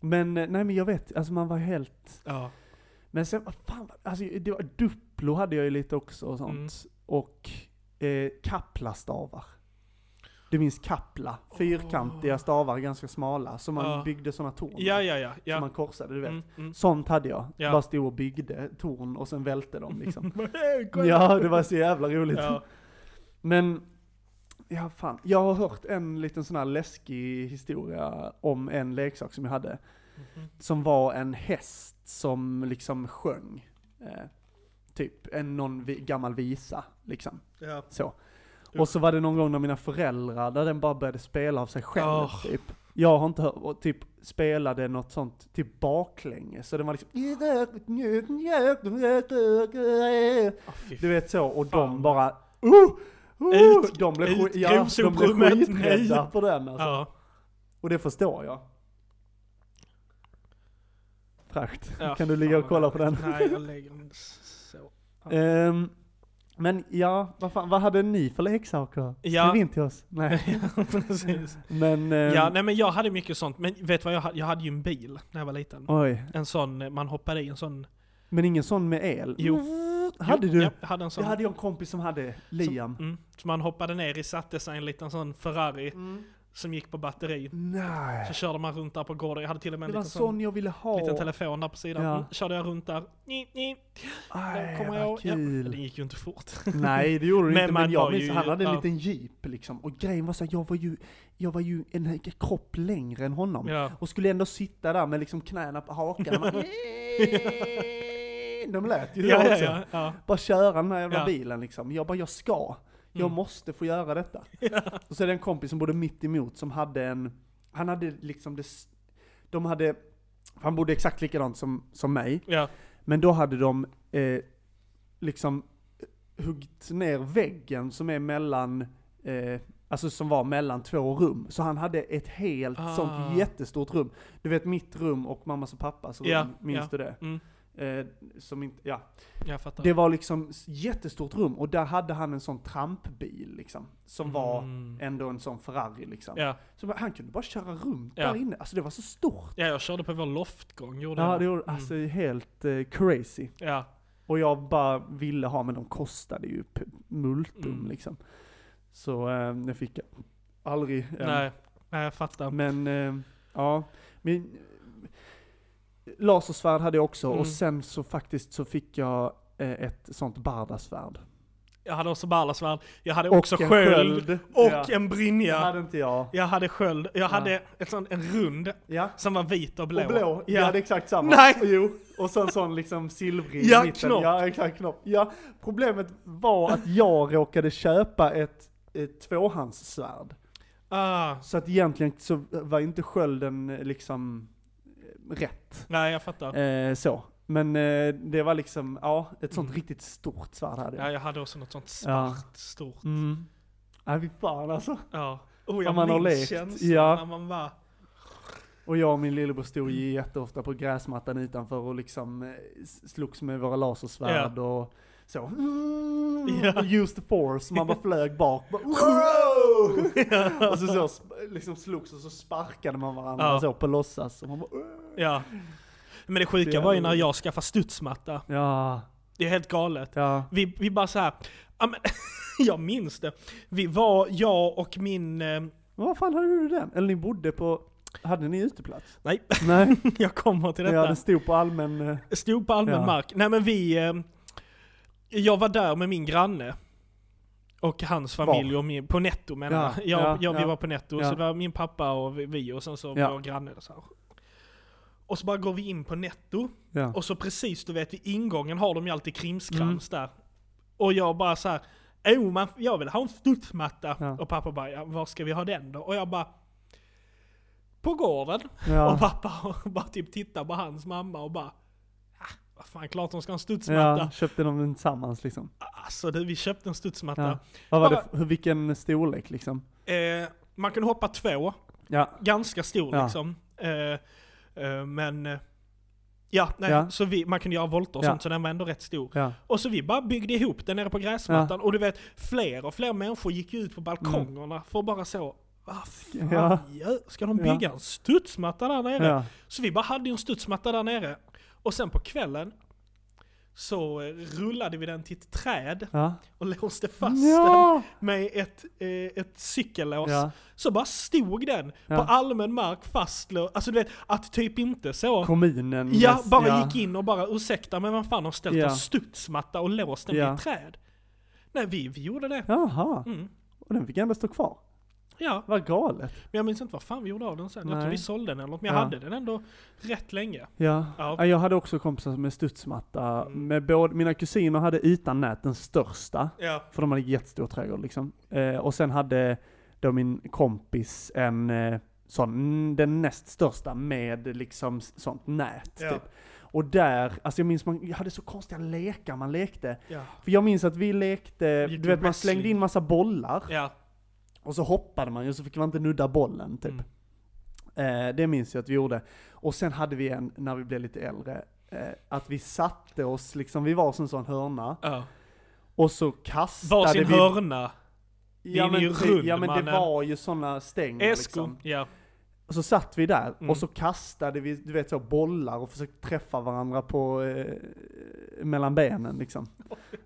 [SPEAKER 1] men eh, nej men jag vet, alltså man var helt
[SPEAKER 2] ja.
[SPEAKER 1] Men sen, vad fan, alltså det var, Duplo hade jag ju lite också och sånt.
[SPEAKER 2] Mm.
[SPEAKER 1] Och eh, Kapla-stavar. Du minns Kapla? Fyrkantiga
[SPEAKER 2] Åh.
[SPEAKER 1] stavar, ganska smala, som man
[SPEAKER 2] Ja.
[SPEAKER 1] byggde sådana torn
[SPEAKER 2] ja, ja, ja.
[SPEAKER 1] Som
[SPEAKER 2] ja.
[SPEAKER 1] man korsade, du vet.
[SPEAKER 2] Mm, mm.
[SPEAKER 1] Sånt hade jag.
[SPEAKER 2] Ja.
[SPEAKER 1] Bara stod och byggde torn och sen välte dem liksom.
[SPEAKER 2] mm. Hey, kolla.
[SPEAKER 1] ja, det var så jävla roligt.
[SPEAKER 2] Ja.
[SPEAKER 1] Men, ja fan. Jag har hört en liten sån här läskig historia om en leksak som jag hade.
[SPEAKER 2] Mm-hmm.
[SPEAKER 1] Som var en häst som liksom sjöng. Eh, typ en någon vi, gammal visa, liksom.
[SPEAKER 2] Ja.
[SPEAKER 1] Så. Och så var det någon gång när mina föräldrar, där den bara började spela av sig själv,
[SPEAKER 2] Ah.
[SPEAKER 1] typ. Jag har inte hört, och typ spelade något sånt, typ baklänges. Så den var liksom...
[SPEAKER 2] Ah, fy
[SPEAKER 1] Du vet så, och
[SPEAKER 2] Fan.
[SPEAKER 1] de bara uh, uh,
[SPEAKER 2] Ut-
[SPEAKER 1] De blev,
[SPEAKER 2] ut,
[SPEAKER 1] skit, ja, de blev
[SPEAKER 2] grovsoprummet, nej.
[SPEAKER 1] skiträdda på den alltså.
[SPEAKER 2] Ja,
[SPEAKER 1] Och det förstår jag. Fräscht.
[SPEAKER 2] ja,
[SPEAKER 1] kan du ligga
[SPEAKER 2] fan,
[SPEAKER 1] och kolla på den?
[SPEAKER 2] Nej, jag lägger den så.
[SPEAKER 1] Ehm, men ja, vad, fan, vad hade ni för leksaker?
[SPEAKER 2] Ja.
[SPEAKER 1] Skriv in till oss. Nej.
[SPEAKER 2] Precis.
[SPEAKER 1] Men, ehm,
[SPEAKER 2] Ja, nej men jag hade mycket sånt. Men vet du vad jag hade? Jag hade ju en bil när jag var liten.
[SPEAKER 1] oj.
[SPEAKER 2] En sån, eh, man hoppade i en sån.
[SPEAKER 1] Men ingen sån med el? Mm,
[SPEAKER 2] Jo.
[SPEAKER 1] Hade
[SPEAKER 2] Jo,
[SPEAKER 1] du?
[SPEAKER 2] Ja, jag hade en sån.
[SPEAKER 1] Det hade jag en kompis som hade, Liam.
[SPEAKER 2] Mm. Så man hoppade ner i, satte sig i en liten sån Ferrari som gick på batteri. Mm. Så
[SPEAKER 1] Nej.
[SPEAKER 2] körde man runt där på gården. Jag hade till och med
[SPEAKER 1] Det
[SPEAKER 2] en
[SPEAKER 1] var
[SPEAKER 2] liten
[SPEAKER 1] en
[SPEAKER 2] sån
[SPEAKER 1] sån jag ville ha.
[SPEAKER 2] liten telefon där på sidan.
[SPEAKER 1] Ja.
[SPEAKER 2] Mm, Körde jag runt där. Ni, ni.
[SPEAKER 1] Aj,
[SPEAKER 2] Den kommer jag
[SPEAKER 1] vad
[SPEAKER 2] ihåg. Ja, men det
[SPEAKER 1] kul.
[SPEAKER 2] gick ju inte fort.
[SPEAKER 1] Nej det gjorde du
[SPEAKER 2] Men
[SPEAKER 1] inte,
[SPEAKER 2] man
[SPEAKER 1] men
[SPEAKER 2] var
[SPEAKER 1] jag minns,
[SPEAKER 2] ju-
[SPEAKER 1] han hade en
[SPEAKER 2] ja.
[SPEAKER 1] liten jeep liksom. Och grejen var så här, jag var ju, jag var ju en kropp längre än honom.
[SPEAKER 2] Ja.
[SPEAKER 1] Och skulle ändå sitta där med liksom knäna på hakan. Och bara, de lät ju så
[SPEAKER 2] Ja, ja,
[SPEAKER 1] också.
[SPEAKER 2] ja, ja.
[SPEAKER 1] Bara köra den här jävla
[SPEAKER 2] Ja.
[SPEAKER 1] bilen liksom. Jag bara, jag ska. Jag
[SPEAKER 2] Mm.
[SPEAKER 1] måste få göra detta. Och så är det en kompis som bodde mitt emot som hade en, han hade liksom det, s- de hade, han bodde exakt likadant som, som mig.
[SPEAKER 2] ja.
[SPEAKER 1] Men då hade de eh, liksom huggit ner väggen som är mellan, eh, alltså som var mellan två rum. Så han hade ett helt
[SPEAKER 2] Ah.
[SPEAKER 1] sånt jättestort rum. Du vet mitt rum och mammas och pappas rum,
[SPEAKER 2] Ja,
[SPEAKER 1] minns du
[SPEAKER 2] ja.
[SPEAKER 1] det?
[SPEAKER 2] Mm.
[SPEAKER 1] Eh, som inte, ja.
[SPEAKER 2] Jag fattar.
[SPEAKER 1] Det var liksom s- jättestort rum och där hade han en sån trampbil liksom. Som var
[SPEAKER 2] Mm.
[SPEAKER 1] ändå en sån Ferrari liksom.
[SPEAKER 2] Ja.
[SPEAKER 1] Så bara- han kunde bara köra runt
[SPEAKER 2] Ja.
[SPEAKER 1] där inne. Alltså det var så stort.
[SPEAKER 2] ja, jag körde på vår loftgång. Gjorde
[SPEAKER 1] Ja,
[SPEAKER 2] jag.
[SPEAKER 1] det gjorde,
[SPEAKER 2] Mm.
[SPEAKER 1] alltså helt eh, crazy.
[SPEAKER 2] Ja.
[SPEAKER 1] Och jag bara ville ha, men de kostade ju p- multum
[SPEAKER 2] Mm.
[SPEAKER 1] liksom. Så eh, det fick jag aldrig. än.
[SPEAKER 2] Nej. Nej, jag fattar.
[SPEAKER 1] Men eh, ja, min lasersvärd hade jag också
[SPEAKER 2] Mm.
[SPEAKER 1] och sen så faktiskt så fick jag eh, ett sånt bardasvärd.
[SPEAKER 2] Jag hade också ballasvärd. Jag hade
[SPEAKER 1] Och
[SPEAKER 2] också
[SPEAKER 1] en
[SPEAKER 2] sköld.
[SPEAKER 1] sköld.
[SPEAKER 2] Och
[SPEAKER 1] Ja.
[SPEAKER 2] en
[SPEAKER 1] Det
[SPEAKER 2] brinja.
[SPEAKER 1] hade inte jag.
[SPEAKER 2] Jag hade sköld. Jag hade ett sånt, en rund
[SPEAKER 1] Ja.
[SPEAKER 2] som var vit och blå.
[SPEAKER 1] Och blå,
[SPEAKER 2] Ja.
[SPEAKER 1] jag hade exakt samma.
[SPEAKER 2] Nej.
[SPEAKER 1] Jo. Och sen sån liksom silvrig
[SPEAKER 2] Ja,
[SPEAKER 1] i mitten.
[SPEAKER 2] knopp.
[SPEAKER 1] Ja, exakt knopp. Ja, problemet var att jag råkade köpa ett, ett tvåhandssvärd.
[SPEAKER 2] Ah,
[SPEAKER 1] Så att egentligen så var inte skölden eh, liksom eh, rätt.
[SPEAKER 2] nej, jag fattar.
[SPEAKER 1] Eh, så. Men eh, det var liksom, ja, ett sånt riktigt stort svärd hade jag.
[SPEAKER 2] Mm. Ja, jag hade också något sånt
[SPEAKER 1] Ja.
[SPEAKER 2] svart, stort.
[SPEAKER 1] Mm. Nej, fy fan alltså.
[SPEAKER 2] Ja. Oh,
[SPEAKER 1] Vad
[SPEAKER 2] jag
[SPEAKER 1] man har
[SPEAKER 2] minns
[SPEAKER 1] lekt.
[SPEAKER 2] känslan
[SPEAKER 1] Ja.
[SPEAKER 2] när man var...
[SPEAKER 1] Och jag och min lillebror stod ju jätteofta på gräsmattan utanför och liksom eh, s- slogs med våra lasersvärd och så. Mm,
[SPEAKER 2] Ja.
[SPEAKER 1] Use the force, man bara flög bak. Bara, wow! och så, så sp- liksom slogs och så sparkade man varandra
[SPEAKER 2] Ja.
[SPEAKER 1] så på låtsas. Och man bara, "Åh!"
[SPEAKER 2] Ja. Men det
[SPEAKER 1] Det
[SPEAKER 2] sjuka
[SPEAKER 1] är
[SPEAKER 2] var ju när
[SPEAKER 1] roligt.
[SPEAKER 2] jag skaffade studsmatta.
[SPEAKER 1] ja,
[SPEAKER 2] Det är helt galet.
[SPEAKER 1] ja,
[SPEAKER 2] Vi, vi bara så här, ja, men, jag minns det. Vi var, jag och min, eh,
[SPEAKER 1] Men Vad fan hade du den? Eller ni bodde på, hade ni uteplats?
[SPEAKER 2] nej,
[SPEAKER 1] Nej,
[SPEAKER 2] jag kommer till
[SPEAKER 1] ja,
[SPEAKER 2] detta.
[SPEAKER 1] den stod på allmän, eh,
[SPEAKER 2] Stod på allmän
[SPEAKER 1] Ja.
[SPEAKER 2] mark. Nej men vi, eh, jag var där med min granne. Och hans familj och min, på netto menar
[SPEAKER 1] Ja,
[SPEAKER 2] jag. Jag,
[SPEAKER 1] ja,
[SPEAKER 2] jag. Vi
[SPEAKER 1] ja.
[SPEAKER 2] var på netto,
[SPEAKER 1] Ja.
[SPEAKER 2] så det var min pappa och vi- vi och sen så
[SPEAKER 1] Ja.
[SPEAKER 2] vår granne. Och så, här. och så bara går vi in på netto.
[SPEAKER 1] ja.
[SPEAKER 2] Och så precis, du vet, vid ingången har de ju alltid
[SPEAKER 1] Mm.
[SPEAKER 2] krimskrams där. Och jag bara så här, oh, man, jag vill ha en studsmatta.
[SPEAKER 1] Ja.
[SPEAKER 2] Och pappa bara, ja, var ska vi ha den då? Och jag bara, på gården. Och
[SPEAKER 1] ja.
[SPEAKER 2] pappa bara typ tittar på hans mamma och bara, ah, vad fan, klart de ska ha en studsmatta.
[SPEAKER 1] ja, köpte de den tillsammans liksom.
[SPEAKER 2] Alltså du, vi köpte en studsmatta.
[SPEAKER 1] Ja. Vad var det,
[SPEAKER 2] Bara-
[SPEAKER 1] hur- vilken storlek liksom?
[SPEAKER 2] Eh, man kunde hoppa två,
[SPEAKER 1] Ja,
[SPEAKER 2] ganska stor
[SPEAKER 1] Ja.
[SPEAKER 2] liksom. Eh, eh, men, eh, ja, nej,
[SPEAKER 1] Ja.
[SPEAKER 2] så vi, man kunde göra volter och
[SPEAKER 1] Ja.
[SPEAKER 2] sånt, så den var ändå rätt stor.
[SPEAKER 1] ja,
[SPEAKER 2] Och så vi bara byggde ihop den nere på gräsmattan. Och du vet, fler och fler människor gick ju ut på balkongerna för att bara så, vad fan
[SPEAKER 1] Mm. Ja.
[SPEAKER 2] gör- ska de
[SPEAKER 1] Ja.
[SPEAKER 2] bygga en studsmatta där nere?
[SPEAKER 1] ja.
[SPEAKER 2] Så vi bara hade ju en studsmatta där nere. Och sen på kvällen så eh, rullade vi den till ett träd
[SPEAKER 1] ja.
[SPEAKER 2] och låste fast den med ett, eh, ett cykellås.
[SPEAKER 1] Ja.
[SPEAKER 2] Så bara stod den på
[SPEAKER 1] Ja.
[SPEAKER 2] allmän mark fastlåst. Alltså du vet, att typ inte så...
[SPEAKER 1] Kommunen.
[SPEAKER 2] Ja,
[SPEAKER 1] mest-
[SPEAKER 2] bara gick in och bara ursäkta men vad fan har ställt
[SPEAKER 1] Ja.
[SPEAKER 2] en studsmatta och låst den vid
[SPEAKER 1] Ja.
[SPEAKER 2] ett träd? Nej, vi, vi gjorde det.
[SPEAKER 1] Jaha,
[SPEAKER 2] Mm.
[SPEAKER 1] och den fick ändå stå kvar.
[SPEAKER 2] Ja,
[SPEAKER 1] Vad galet.
[SPEAKER 2] men jag minns inte vad fan vi gjorde av den sen. Jag
[SPEAKER 1] Nej.
[SPEAKER 2] tror vi sålde den eller något, men jag
[SPEAKER 1] Ja.
[SPEAKER 2] hade den ändå rätt länge.
[SPEAKER 1] Ja.
[SPEAKER 2] Ja.
[SPEAKER 1] ja, jag hade också kompisar med studsmatta.
[SPEAKER 2] Mm.
[SPEAKER 1] Med både, mina kusiner hade utan nät den största,
[SPEAKER 2] Ja.
[SPEAKER 1] för de hade jättestor trädgård liksom. Eh, och sen hade då min kompis en eh, sån, mm, den näst största med liksom s- sånt nät.
[SPEAKER 2] Ja.
[SPEAKER 1] Typ. Och där, alltså jag minns man jag hade så konstiga lekar man lekte.
[SPEAKER 2] Ja.
[SPEAKER 1] För jag minns att vi lekte,
[SPEAKER 2] Gick
[SPEAKER 1] du vet man
[SPEAKER 2] wrestling.
[SPEAKER 1] slängde in massa bollar.
[SPEAKER 2] Ja.
[SPEAKER 1] Och så hoppade man ju, så fick man inte nudda bollen typ.
[SPEAKER 2] Mm.
[SPEAKER 1] Eh, det minns jag att vi gjorde. Och sen hade vi en, när vi blev lite äldre, eh, att vi satte oss, liksom, vi var som en sån hörna,
[SPEAKER 2] ja.
[SPEAKER 1] och så kastade
[SPEAKER 2] Varsin
[SPEAKER 1] vi...
[SPEAKER 2] hörna.
[SPEAKER 1] ja,
[SPEAKER 2] den är
[SPEAKER 1] men,
[SPEAKER 2] ju
[SPEAKER 1] typ-
[SPEAKER 2] rund,
[SPEAKER 1] ja men det
[SPEAKER 2] mannen.
[SPEAKER 1] var ju såna stänger
[SPEAKER 2] Esko.
[SPEAKER 1] liksom.
[SPEAKER 2] Ja.
[SPEAKER 1] Och så satt vi där,
[SPEAKER 2] Mm.
[SPEAKER 1] och så kastade vi, du vet så, bollar och försökte träffa varandra på, eh, mellan benen liksom.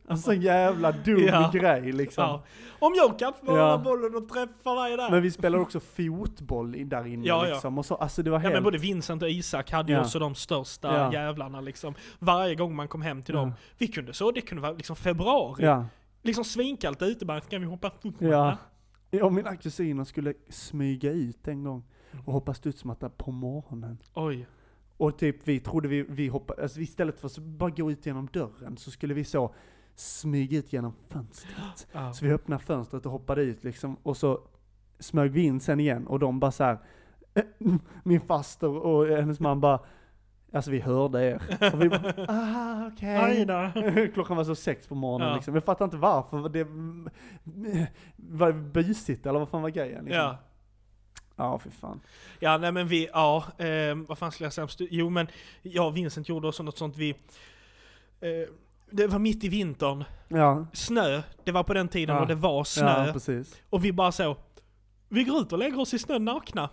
[SPEAKER 1] Alltså en jävla dum
[SPEAKER 2] Ja.
[SPEAKER 1] grej liksom.
[SPEAKER 2] ja. Om jag kan få
[SPEAKER 1] Ja.
[SPEAKER 2] bollen och träffa dig där.
[SPEAKER 1] Men vi spelade också fotboll i- där inne
[SPEAKER 2] Ja, ja.
[SPEAKER 1] liksom. Och så, alltså det var
[SPEAKER 2] Ja
[SPEAKER 1] helt...
[SPEAKER 2] men både Vincent och Isak hade ju
[SPEAKER 1] Ja.
[SPEAKER 2] också de största
[SPEAKER 1] Ja.
[SPEAKER 2] jävlarna liksom. Varje gång man kom hem till dem.
[SPEAKER 1] Ja.
[SPEAKER 2] Vi kunde så, det kunde vara liksom februari.
[SPEAKER 1] Ja,
[SPEAKER 2] Liksom svinkallt ute bara, kan vi hoppa studsmatta?
[SPEAKER 1] ja. Jag och mina kusiner skulle smyga ut en gång
[SPEAKER 2] Mm.
[SPEAKER 1] och hoppa studsmatta på morgonen.
[SPEAKER 2] Oj.
[SPEAKER 1] Och typ vi trodde vi, vi hoppade, alltså istället för att bara gå ut genom dörren så skulle vi så smyga ut genom fönstret.
[SPEAKER 2] Ja.
[SPEAKER 1] Så vi öppnade fönstret och hoppade ut liksom och så smög vi in sen igen och de bara så här. min faster och hennes man bara, alltså vi hörde er. Och vi bara, ah okej.
[SPEAKER 2] Aj då.
[SPEAKER 1] Klockan var så sex på morgonen
[SPEAKER 2] Ja.
[SPEAKER 1] liksom. Jag fattar inte varför. Det var busigt eller vad fan var grejen? Liksom.
[SPEAKER 2] Ja.
[SPEAKER 1] ja, för fan.
[SPEAKER 2] ja, nej men vi, ja, eh, vad fan skulle jag säga? om stu- Jo men, jag och Vincent gjorde också något sånt vi, eh, det var mitt i vintern,
[SPEAKER 1] Ja,
[SPEAKER 2] snö, det var på den tiden
[SPEAKER 1] Ja.
[SPEAKER 2] och det var
[SPEAKER 1] ja
[SPEAKER 2] snö.
[SPEAKER 1] precis.
[SPEAKER 2] och vi bara så, vi går ut och lägger oss i snön nakna.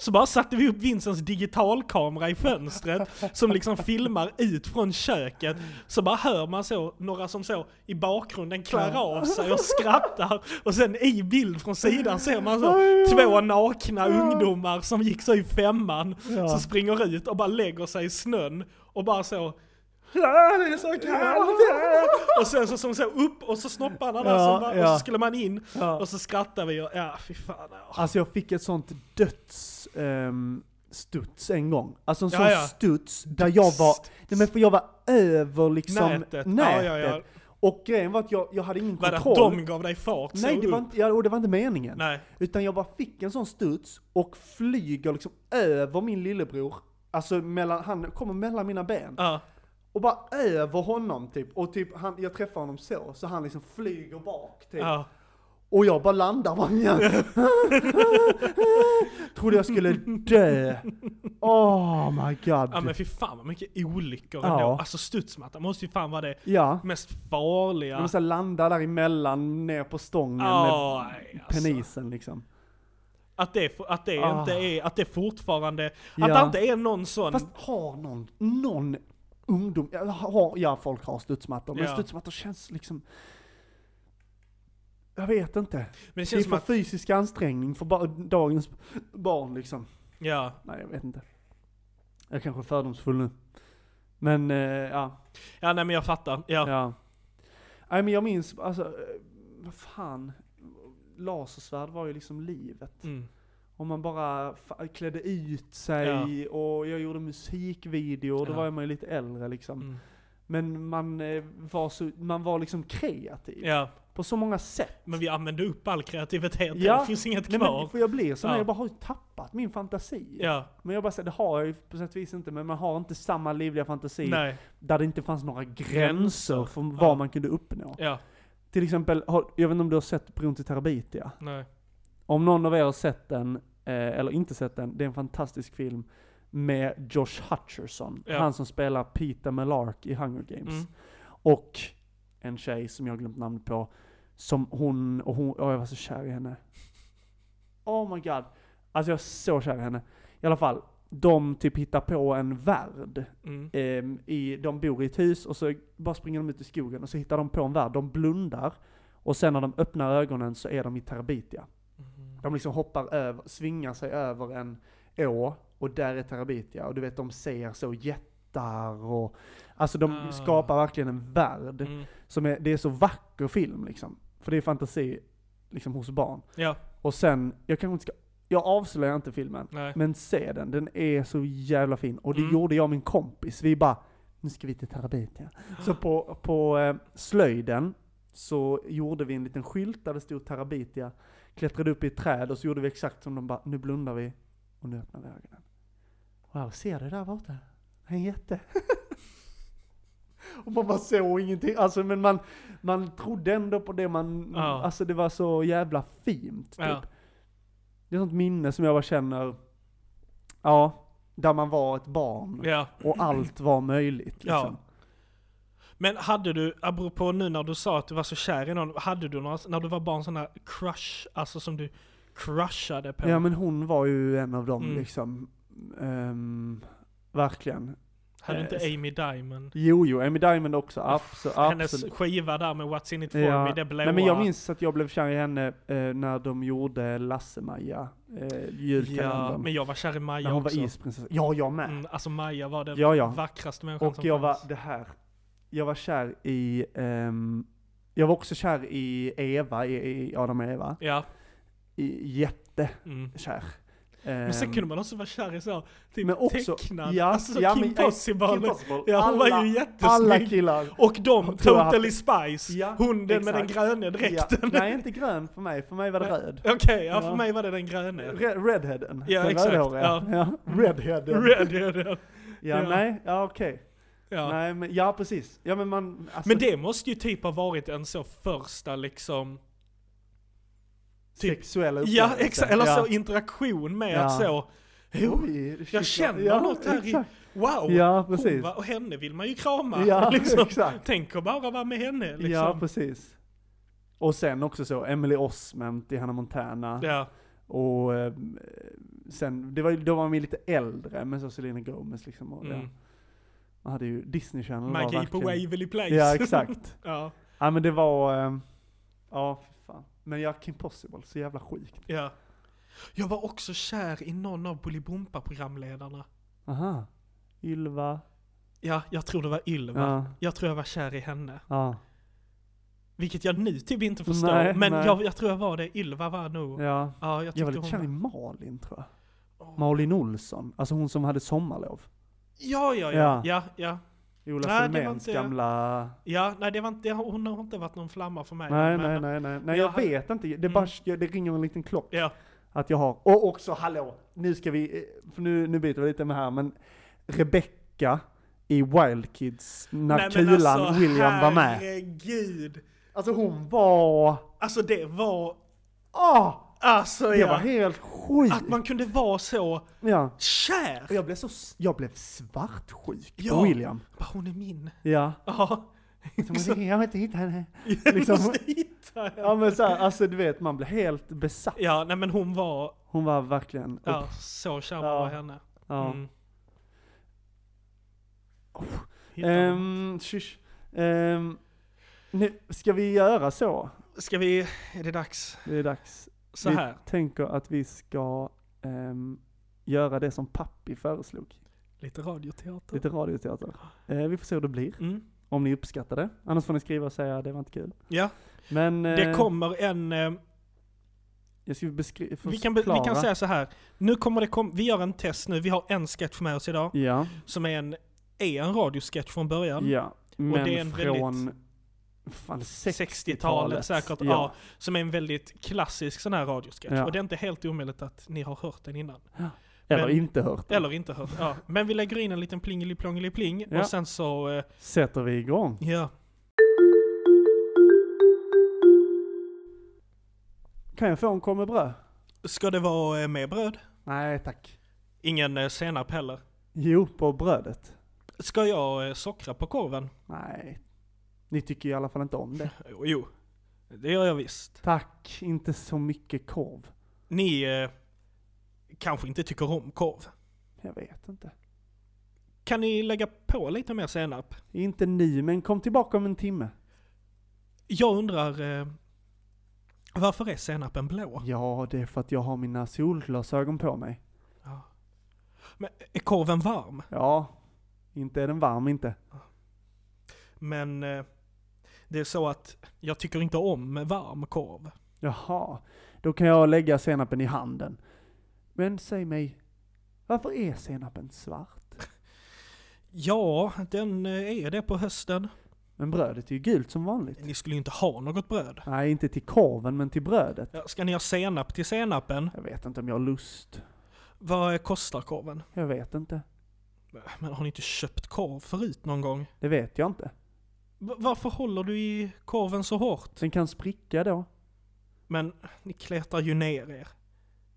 [SPEAKER 2] Så bara satte vi upp Vincents digitalkamera i fönstret som liksom filmar ut från köket. Så bara hör man så några som så i bakgrunden klär av sig och skrattar. Och sen i bild från sidan ser man så två nakna ungdomar som gick så i femman.
[SPEAKER 1] Ja.
[SPEAKER 2] Som springer ut och bara lägger sig i snön och bara så Ja, det är så kallt! Och sen så, så, så upp och så snoppar han där
[SPEAKER 1] Ja,
[SPEAKER 2] som bara- och
[SPEAKER 1] ja.
[SPEAKER 2] så skulle man in
[SPEAKER 1] Ja.
[SPEAKER 2] och så skrattar vi och ja, fy fan. Ja.
[SPEAKER 1] Alltså jag fick ett sånt döds... ehm, studs en gång. Alltså en
[SPEAKER 2] Ja,
[SPEAKER 1] sån
[SPEAKER 2] ja.
[SPEAKER 1] studs där jag var, nej men för jag var över liksom
[SPEAKER 2] Nätet.
[SPEAKER 1] nätet.
[SPEAKER 2] Ja, ja, ja.
[SPEAKER 1] Och grejen var att jag, jag hade ingen
[SPEAKER 2] Vad är det att
[SPEAKER 1] kontroll.
[SPEAKER 2] de gav dig fart
[SPEAKER 1] nej,
[SPEAKER 2] så
[SPEAKER 1] det var,
[SPEAKER 2] upp?
[SPEAKER 1] inte, ja, och det var inte meningen.
[SPEAKER 2] Nej.
[SPEAKER 1] Utan jag bara fick en sån studs och flyger liksom över min lillebror. Alltså mellan, han kommer mellan mina ben.
[SPEAKER 2] Ja.
[SPEAKER 1] Och bara över honom typ. Och typ han, jag träffar honom så, så han liksom flyger bak typ.
[SPEAKER 2] Ja.
[SPEAKER 1] Och jag bara landar bara igen. Trodde jag skulle dö. Oh my god.
[SPEAKER 2] ja men fy fan vad mycket olyckor
[SPEAKER 1] Ja.
[SPEAKER 2] ändå. Alltså studsmatta måste ju fan vara det
[SPEAKER 1] ja.
[SPEAKER 2] mest
[SPEAKER 1] De
[SPEAKER 2] farliga.
[SPEAKER 1] måste landa däremellan, ner på stången
[SPEAKER 2] Ja,
[SPEAKER 1] med
[SPEAKER 2] alltså.
[SPEAKER 1] penisen liksom.
[SPEAKER 2] Att det, att det
[SPEAKER 1] Ah.
[SPEAKER 2] inte är, att det fortfarande, att
[SPEAKER 1] Ja.
[SPEAKER 2] det inte är någon sån...
[SPEAKER 1] Fast har någon, någon ungdom, ja, har, ja folk har studsmattor, men
[SPEAKER 2] Ja.
[SPEAKER 1] studsmattor känns liksom... Jag vet inte.
[SPEAKER 2] men det
[SPEAKER 1] Det är
[SPEAKER 2] känns som
[SPEAKER 1] för
[SPEAKER 2] att,
[SPEAKER 1] fysisk ansträngning för ba- dagens barn liksom.
[SPEAKER 2] ja.
[SPEAKER 1] Nej, jag vet inte. Jag kanske är fördomsfull nu. Men, eh, ja.
[SPEAKER 2] Ja nej men jag fattar. Ja.
[SPEAKER 1] Ja. Nej men jag minns, alltså, eh, vad fan. Lasersvärd var ju liksom livet.
[SPEAKER 2] Mm.
[SPEAKER 1] Om man bara fa- klädde ut sig och jag gjorde musikvideor, då
[SPEAKER 2] Ja.
[SPEAKER 1] var man ju lite äldre liksom.
[SPEAKER 2] Mm.
[SPEAKER 1] Men man eh, var så, man var liksom kreativ.
[SPEAKER 2] ja.
[SPEAKER 1] På så många sätt.
[SPEAKER 2] Men vi använde upp all kreativitet,
[SPEAKER 1] Ja.
[SPEAKER 2] det finns inget
[SPEAKER 1] Nej
[SPEAKER 2] kvar.
[SPEAKER 1] men för jag blir så
[SPEAKER 2] Ja.
[SPEAKER 1] när jag bara har ju tappat min fantasi.
[SPEAKER 2] Ja,
[SPEAKER 1] Men jag bara säger, det har jag ju på sätt och vis inte, men man har inte samma livliga fantasi
[SPEAKER 2] nej,
[SPEAKER 1] där det inte fanns några gränser för vad
[SPEAKER 2] Ja.
[SPEAKER 1] man kunde uppnå.
[SPEAKER 2] ja,
[SPEAKER 1] Till exempel, har, jag vet inte om du har sett Bron till Terabithia?
[SPEAKER 2] nej. Mm.
[SPEAKER 1] Om någon av er har sett den, eh, eller inte sett den, det är en fantastisk film med Josh Hutcherson.
[SPEAKER 2] Ja.
[SPEAKER 1] Han som spelar Peter Mellark i Hunger Games.
[SPEAKER 2] Mm.
[SPEAKER 1] Och en tjej som jag har glömt namnet på, som hon, och hon, åh jag var så kär i henne. Oh my god. Alltså jag är så kär i henne. I alla fall, de typ hittar på en värld
[SPEAKER 2] Mm.
[SPEAKER 1] ehm, i, de bor i ett hus och så bara springer de ut i skogen och så hittar de på en värld. De blundar och sen när de öppnar ögonen så är de i Terabithia.
[SPEAKER 2] Mm.
[SPEAKER 1] De liksom hoppar över, svingar sig över en å och där är Terabithia. Och du vet de ser så jättar och... Alltså de
[SPEAKER 2] Ah.
[SPEAKER 1] skapar verkligen en värld.
[SPEAKER 2] Mm.
[SPEAKER 1] Som är, det är så vacker film liksom. För det är fantasi liksom hos barn.
[SPEAKER 2] Ja,
[SPEAKER 1] Och sen, jag kanske inte ska... Jag avslöjar inte filmen.
[SPEAKER 2] nej.
[SPEAKER 1] Men se den, den är så jävla fin. Och det
[SPEAKER 2] Mm.
[SPEAKER 1] gjorde jag och min kompis. Vi bara, nu ska vi till Terabithia. Så på, på eh, slöjden så gjorde vi en liten skylt där det stod Terabithia. Klättrade upp i ett träd och så gjorde vi exakt som de bara, nu blundar vi och nu öppnar vi ögonen. Wow, ser du där borta? Det är En jätte. och man bara såg ingenting. Alltså men man, man trodde ändå på det man,
[SPEAKER 2] Ja.
[SPEAKER 1] alltså det var så jävla fint typ.
[SPEAKER 2] Ja.
[SPEAKER 1] Det är sånt minne som jag bara känner, ja, där man var ett barn
[SPEAKER 2] Ja.
[SPEAKER 1] och allt var möjligt.
[SPEAKER 2] Ja.
[SPEAKER 1] Liksom.
[SPEAKER 2] Men hade du, apropå nu när du sa att du var så kär i någon, hade du några, när du var barn sådana crush, alltså som du crushade på?
[SPEAKER 1] Ja. men hon var ju en av dem
[SPEAKER 2] Mm.
[SPEAKER 1] liksom. Ehm, verkligen.
[SPEAKER 2] hade du
[SPEAKER 1] eh,
[SPEAKER 2] inte Amy Diamond?
[SPEAKER 1] Jo, jo, Amy Diamond också, abso- absolut.
[SPEAKER 2] Hennes skiva där med What's in it for
[SPEAKER 1] Ja.
[SPEAKER 2] me, det blåa.
[SPEAKER 1] Nej men jag minns att jag blev kär i henne eh, när de gjorde Lasse-Maja, eh,
[SPEAKER 2] Ja,
[SPEAKER 1] julkalendern.
[SPEAKER 2] men jag var kär i
[SPEAKER 1] när
[SPEAKER 2] Maja
[SPEAKER 1] hon
[SPEAKER 2] också.
[SPEAKER 1] var isprinsessa. Ja, jag med.
[SPEAKER 2] Mm, alltså Maja var den
[SPEAKER 1] Ja, ja.
[SPEAKER 2] vackraste människan
[SPEAKER 1] Och
[SPEAKER 2] som
[SPEAKER 1] jag var,
[SPEAKER 2] fanns.
[SPEAKER 1] det här, jag var kär i, ehm, jag var också kär i Eva, i, i Adam och Eva.
[SPEAKER 2] Ja.
[SPEAKER 1] I, jättekär.
[SPEAKER 2] Mm.
[SPEAKER 1] Ehm,
[SPEAKER 2] Men sen kunde man också vara kär i så, typ
[SPEAKER 1] Men också-
[SPEAKER 2] tecknad,
[SPEAKER 1] ja,
[SPEAKER 2] alltså
[SPEAKER 1] ja,
[SPEAKER 2] Kim
[SPEAKER 1] men-
[SPEAKER 2] Possible.
[SPEAKER 1] Kim Possible.
[SPEAKER 2] Ja, hon
[SPEAKER 1] Alla-
[SPEAKER 2] var ju
[SPEAKER 1] alla
[SPEAKER 2] jättesnygg.
[SPEAKER 1] killar.
[SPEAKER 2] och de,
[SPEAKER 1] tror jag
[SPEAKER 2] Totally Spice,
[SPEAKER 1] Ja,
[SPEAKER 2] hunden med den
[SPEAKER 1] exakt.
[SPEAKER 2] gröna dräkten.
[SPEAKER 1] Ja, nej, inte grön för mig. För mig var det röd.
[SPEAKER 2] Okej, ja, för
[SPEAKER 1] Ja.
[SPEAKER 2] mig var det den gröna.
[SPEAKER 1] Re- redheaden.
[SPEAKER 2] Ja,
[SPEAKER 1] Den
[SPEAKER 2] exakt,
[SPEAKER 1] rödhåriga.
[SPEAKER 2] ja.
[SPEAKER 1] Ja. Redheaden.
[SPEAKER 2] Red, ja, ja.
[SPEAKER 1] ja,
[SPEAKER 2] ja.
[SPEAKER 1] nej, ja okej.
[SPEAKER 2] ja.
[SPEAKER 1] Nej, men ja precis. Ja men man, alltså,
[SPEAKER 2] Men det måste ju typ ha varit en så första liksom, typ-
[SPEAKER 1] sexuella
[SPEAKER 2] ja
[SPEAKER 1] upplevelser.
[SPEAKER 2] exakt, eller
[SPEAKER 1] Ja.
[SPEAKER 2] så interaktion med
[SPEAKER 1] Ja.
[SPEAKER 2] att så, jo,
[SPEAKER 1] Oj, shit,
[SPEAKER 2] jag känner
[SPEAKER 1] ja,
[SPEAKER 2] något här
[SPEAKER 1] exakt.
[SPEAKER 2] i, wow,
[SPEAKER 1] Ja,
[SPEAKER 2] hon
[SPEAKER 1] precis.
[SPEAKER 2] var, och henne vill man ju krama.
[SPEAKER 1] Ja,
[SPEAKER 2] liksom.
[SPEAKER 1] exakt.
[SPEAKER 2] Tänk att bara vara med henne liksom.
[SPEAKER 1] Ja, precis. Och sen också så, Emily Osment i Hannah Montana.
[SPEAKER 2] Ja.
[SPEAKER 1] Och eh, sen, det var, ju- då var man ju lite äldre, men så Selena Gomez liksom. Och, ja.
[SPEAKER 2] Mm.
[SPEAKER 1] Man hade ju Disney Channel. var
[SPEAKER 2] Maggie på
[SPEAKER 1] verkligen-
[SPEAKER 2] Waverly Place.
[SPEAKER 1] Ja, exakt.
[SPEAKER 2] ja,
[SPEAKER 1] Ja men det var, ehm, ja fy fan. Men ja, Kim Possible, så jävla sjukt.
[SPEAKER 2] ja. Jag var också kär i någon av Bolibompa-programledarna.
[SPEAKER 1] Aha. Ylva,
[SPEAKER 2] Ja, jag tror det var Ylva.
[SPEAKER 1] Ja,
[SPEAKER 2] Jag tror jag var kär i henne.
[SPEAKER 1] ja,
[SPEAKER 2] Vilket jag nu typ inte förstår.
[SPEAKER 1] Nej,
[SPEAKER 2] men
[SPEAKER 1] nej.
[SPEAKER 2] Jag, jag tror jag var det. Ylva var nog... Ja,
[SPEAKER 1] ja.
[SPEAKER 2] jag
[SPEAKER 1] Jag
[SPEAKER 2] tyckte
[SPEAKER 1] var lite
[SPEAKER 2] hon
[SPEAKER 1] kär i
[SPEAKER 2] var...
[SPEAKER 1] Malin tror jag. Malin Olsson, alltså hon som hade sommarlov.
[SPEAKER 2] Ja, ja,
[SPEAKER 1] Ja.
[SPEAKER 2] ja. Ja, ja.
[SPEAKER 1] Ola
[SPEAKER 2] Nej, det var
[SPEAKER 1] Selméns
[SPEAKER 2] inte jag.
[SPEAKER 1] gamla...
[SPEAKER 2] ja nej, det var inte, hon har inte varit någon flamma för mig.
[SPEAKER 1] Nej,
[SPEAKER 2] men,
[SPEAKER 1] nej, nej, nej. Nej,
[SPEAKER 2] jag
[SPEAKER 1] jag
[SPEAKER 2] hade-
[SPEAKER 1] vet inte. Det,
[SPEAKER 2] Mm.
[SPEAKER 1] bara, det ringer en liten klocka.
[SPEAKER 2] Ja,
[SPEAKER 1] Att jag har. Och också, hallå! Nu ska vi, eh, för nu, nu byter vi lite med här, men Rebecca i Wild Kids, när
[SPEAKER 2] Nej, men
[SPEAKER 1] Kulan
[SPEAKER 2] alltså,
[SPEAKER 1] William var med.
[SPEAKER 2] Herregud.
[SPEAKER 1] Alltså hon var...
[SPEAKER 2] Alltså det var...
[SPEAKER 1] Åh!
[SPEAKER 2] Alltså
[SPEAKER 1] det
[SPEAKER 2] ja.
[SPEAKER 1] var helt sjukt!
[SPEAKER 2] Att man kunde vara så
[SPEAKER 1] Ja.
[SPEAKER 2] kär!
[SPEAKER 1] Och jag blev så, s- jag blev svartsjuk
[SPEAKER 2] Ja.
[SPEAKER 1] på William.
[SPEAKER 2] Bara, hon är min.
[SPEAKER 1] Ja.
[SPEAKER 2] Ja.
[SPEAKER 1] Så, jag har inte hittat henne.
[SPEAKER 2] Jag
[SPEAKER 1] Liksom-
[SPEAKER 2] måste hitta henne.
[SPEAKER 1] Ja men så här, alltså du vet, man blev helt besatt.
[SPEAKER 2] Ja, nej men hon var...
[SPEAKER 1] Hon var verkligen...
[SPEAKER 2] Ja, så kär man
[SPEAKER 1] Ja.
[SPEAKER 2] var i henne.
[SPEAKER 1] Ja.
[SPEAKER 2] Mm. Hittade hon.
[SPEAKER 1] Ehm, tjus. Ehm, nu, ska vi göra så?
[SPEAKER 2] Ska vi... Är det dags?
[SPEAKER 1] Det är dags.
[SPEAKER 2] Så
[SPEAKER 1] vi
[SPEAKER 2] här.
[SPEAKER 1] tänker att vi ska ehm, göra det som pappi föreslog.
[SPEAKER 2] Lite radioteater.
[SPEAKER 1] Lite radioteater. Eh, vi får se hur det blir.
[SPEAKER 2] Mm.
[SPEAKER 1] Om ni uppskattar det. Annars får ni skriva och säga det var inte kul.
[SPEAKER 2] Ja,
[SPEAKER 1] Men eh,
[SPEAKER 2] det kommer en... eh,
[SPEAKER 1] jag ska beskriva.
[SPEAKER 2] Vi kan, be- vi kan säga så här. Nu kommer det kom- Vi gör en test nu. Vi har en sketch med oss idag.
[SPEAKER 1] Ja,
[SPEAKER 2] Som är en, är en radiosketch från början.
[SPEAKER 1] ja. Men
[SPEAKER 2] det är en
[SPEAKER 1] från
[SPEAKER 2] väldigt-
[SPEAKER 1] fan,
[SPEAKER 2] 60-talet
[SPEAKER 1] 60-talet.
[SPEAKER 2] säkert. Ja.
[SPEAKER 1] Ja.
[SPEAKER 2] som är en väldigt klassisk sån här radiosketch.
[SPEAKER 1] Ja.
[SPEAKER 2] Och det är inte helt omöjligt att ni har hört den innan.
[SPEAKER 1] Eller
[SPEAKER 2] men-
[SPEAKER 1] inte hört det.
[SPEAKER 2] Eller inte hört. Ja. Men vi lägger in en liten plingeli-plongeli-pling
[SPEAKER 1] Ja.
[SPEAKER 2] och sen så... eh,
[SPEAKER 1] Sätter vi igång.
[SPEAKER 2] Ja.
[SPEAKER 1] Kan jag få en komme bröd?
[SPEAKER 2] Ska det vara eh, med bröd?
[SPEAKER 1] Nej tack.
[SPEAKER 2] Ingen eh, senap heller.
[SPEAKER 1] Jo, på brödet.
[SPEAKER 2] Ska jag eh, sockra på korven?
[SPEAKER 1] Nej. Ni tycker i alla fall inte om det.
[SPEAKER 2] Jo, Eh, jo. det gör jag visst.
[SPEAKER 1] Tack, inte så mycket korv.
[SPEAKER 2] Ni eh, kanske inte tycker om korv.
[SPEAKER 1] Jag vet inte.
[SPEAKER 2] Kan ni lägga på lite mer senap?
[SPEAKER 1] Inte nu, men kom tillbaka om en timme.
[SPEAKER 2] Jag undrar, eh, varför är senapen blå?
[SPEAKER 1] Ja, det är för att jag har mina solglasögon på mig.
[SPEAKER 2] Ja. Men är korven varm?
[SPEAKER 1] Ja, inte är den varm inte.
[SPEAKER 2] Men eh, det är så att jag tycker inte om varm korv.
[SPEAKER 1] Jaha, då kan jag lägga senapen i handen. Men säg mig, varför är senapen svart?
[SPEAKER 2] Ja, den eh, är det på hösten.
[SPEAKER 1] Men brödet är ju gult som vanligt.
[SPEAKER 2] Ni skulle ju inte ha något bröd.
[SPEAKER 1] Nej, inte till korven, men till brödet.
[SPEAKER 2] Ja, Ska ni ha senap till senapen?
[SPEAKER 1] Jag vet inte om jag har lust.
[SPEAKER 2] Vad eh, kostar korven?
[SPEAKER 1] Jag vet inte.
[SPEAKER 2] Men har ni inte köpt korv förut någon gång?
[SPEAKER 1] Det vet jag inte.
[SPEAKER 2] Va- varför håller du i korven så hårt?
[SPEAKER 1] Den kan spricka då.
[SPEAKER 2] Men ni kletar ju ner er.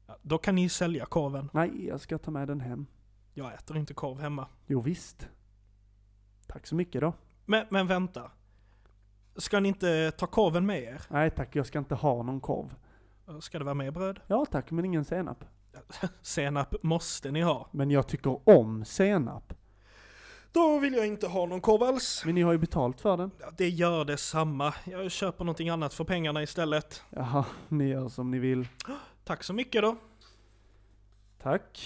[SPEAKER 2] Ja, då kan ni sälja korven.
[SPEAKER 1] Nej, jag ska ta med den hem.
[SPEAKER 2] Jag äter inte korv hemma.
[SPEAKER 1] Jo visst. Tack så mycket då.
[SPEAKER 2] Men, men vänta. Ska ni inte ta korven med er?
[SPEAKER 1] Nej tack, jag ska inte ha någon korv.
[SPEAKER 2] Ska det vara med bröd?
[SPEAKER 1] Ja tack, men ingen senap.
[SPEAKER 2] Senap måste ni ha.
[SPEAKER 1] Men jag tycker om senap.
[SPEAKER 2] Då vill jag inte ha någon korv alls.
[SPEAKER 1] Men ni har ju betalt för den.
[SPEAKER 2] Ja, Det gör detsamma. Jag köper någonting annat för pengarna istället.
[SPEAKER 1] Jaha, ni gör som ni vill.
[SPEAKER 2] Tack så mycket då.
[SPEAKER 1] Tack.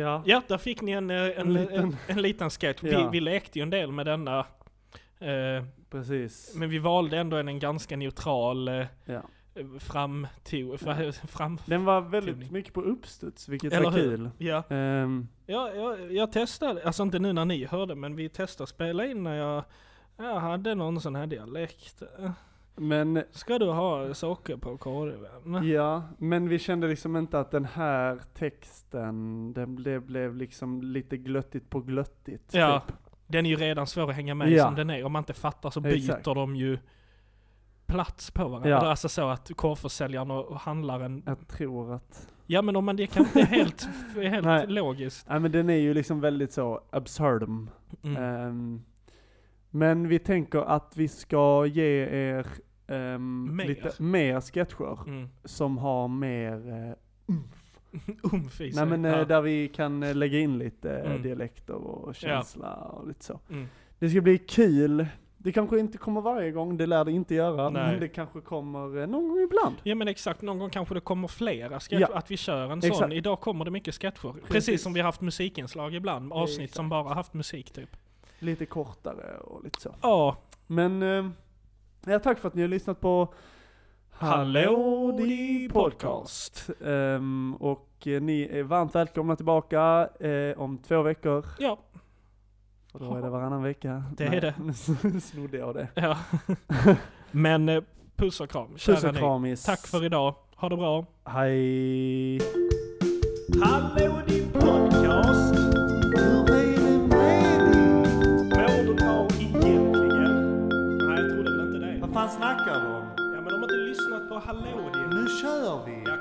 [SPEAKER 1] Ja.
[SPEAKER 2] Ja, där fick ni en, eh,
[SPEAKER 1] En
[SPEAKER 2] en,
[SPEAKER 1] liten.
[SPEAKER 2] en, en, liten sketch. Vi,
[SPEAKER 1] Ja.
[SPEAKER 2] vi lekte ju en del med denna. Eh,
[SPEAKER 1] Precis.
[SPEAKER 2] men vi valde ändå en, en ganska neutral eh,
[SPEAKER 1] Ja.
[SPEAKER 2] framto... fra- Fram,
[SPEAKER 1] Den var väldigt
[SPEAKER 2] Trevlig.
[SPEAKER 1] mycket på uppstuds, vilket
[SPEAKER 2] Eller
[SPEAKER 1] var
[SPEAKER 2] hur?
[SPEAKER 1] kul.
[SPEAKER 2] ja.
[SPEAKER 1] Ehm,
[SPEAKER 2] Ja, jag, jag testade, alltså inte nu när ni hörde, men vi testade att spela in när jag, jag hade någon sån här dialekt.
[SPEAKER 1] men,
[SPEAKER 2] Ska du ha socker på korven?
[SPEAKER 1] ja, men vi kände liksom inte att den här texten, den blev, blev liksom lite glöttigt på glöttigt.
[SPEAKER 2] Ja,
[SPEAKER 1] typ.
[SPEAKER 2] den är ju redan svår att hänga med i
[SPEAKER 1] Ja.
[SPEAKER 2] som den är. Om man inte fattar så byter
[SPEAKER 1] Exakt.
[SPEAKER 2] de ju plats på varandra.
[SPEAKER 1] Ja.
[SPEAKER 2] Alltså så att korvförsäljaren och och handlaren...
[SPEAKER 1] Jag tror att
[SPEAKER 2] Ja men om man, det kan inte helt, helt
[SPEAKER 1] Nej.
[SPEAKER 2] logiskt.
[SPEAKER 1] Nej men den är ju liksom väldigt så absurdum.
[SPEAKER 2] Mm.
[SPEAKER 1] Ehm, men vi tänker att vi ska ge er ehm,
[SPEAKER 2] Mer.
[SPEAKER 1] lite mer sketcher
[SPEAKER 2] Mm.
[SPEAKER 1] som har mer, eh,
[SPEAKER 2] Umf i
[SPEAKER 1] nej
[SPEAKER 2] Um, sig.
[SPEAKER 1] men eh,
[SPEAKER 2] ja.
[SPEAKER 1] där vi kan eh, lägga in lite eh,
[SPEAKER 2] Mm.
[SPEAKER 1] dialekter och känsla och lite så.
[SPEAKER 2] Mm.
[SPEAKER 1] Det ska bli kul. Det kanske inte kommer varje gång, det lär det inte göra,
[SPEAKER 2] Nej.
[SPEAKER 1] men det kanske kommer eh, någon gång ibland.
[SPEAKER 2] Ja men exakt, någon gång kanske det kommer flera sketcher,
[SPEAKER 1] Ja.
[SPEAKER 2] att vi kör en sån.
[SPEAKER 1] Exakt.
[SPEAKER 2] Idag kommer det mycket sketcher. Precis,
[SPEAKER 1] Precis.
[SPEAKER 2] som vi har haft musikinslag ibland, avsnitt som bara haft musik typ.
[SPEAKER 1] Lite kortare och lite så.
[SPEAKER 2] Ja,
[SPEAKER 1] Men, eh, ja, tack för att ni har lyssnat på
[SPEAKER 2] Hallå,
[SPEAKER 1] Di
[SPEAKER 2] podcast.
[SPEAKER 1] Ehm, och eh, ni är varmt välkomna tillbaka eh, om två veckor.
[SPEAKER 2] ja,
[SPEAKER 1] Och då är det varannan vecka.
[SPEAKER 2] Det är det.
[SPEAKER 1] Nu snodde jag det.
[SPEAKER 2] ja. men eh, puss och kram, kära
[SPEAKER 1] Puss och
[SPEAKER 2] ni.
[SPEAKER 1] kramis.
[SPEAKER 2] Tack för idag, ha det bra.
[SPEAKER 1] Hej.
[SPEAKER 4] Hallå din podcast! Hur är det med dig?
[SPEAKER 2] Mår du bra egentligen? Nej, jag trodde väl inte det.
[SPEAKER 4] Vad fan snackar du om?
[SPEAKER 2] Ja, men de har inte lyssnat på Hallå din.
[SPEAKER 4] Nu kör vi!
[SPEAKER 2] Ja,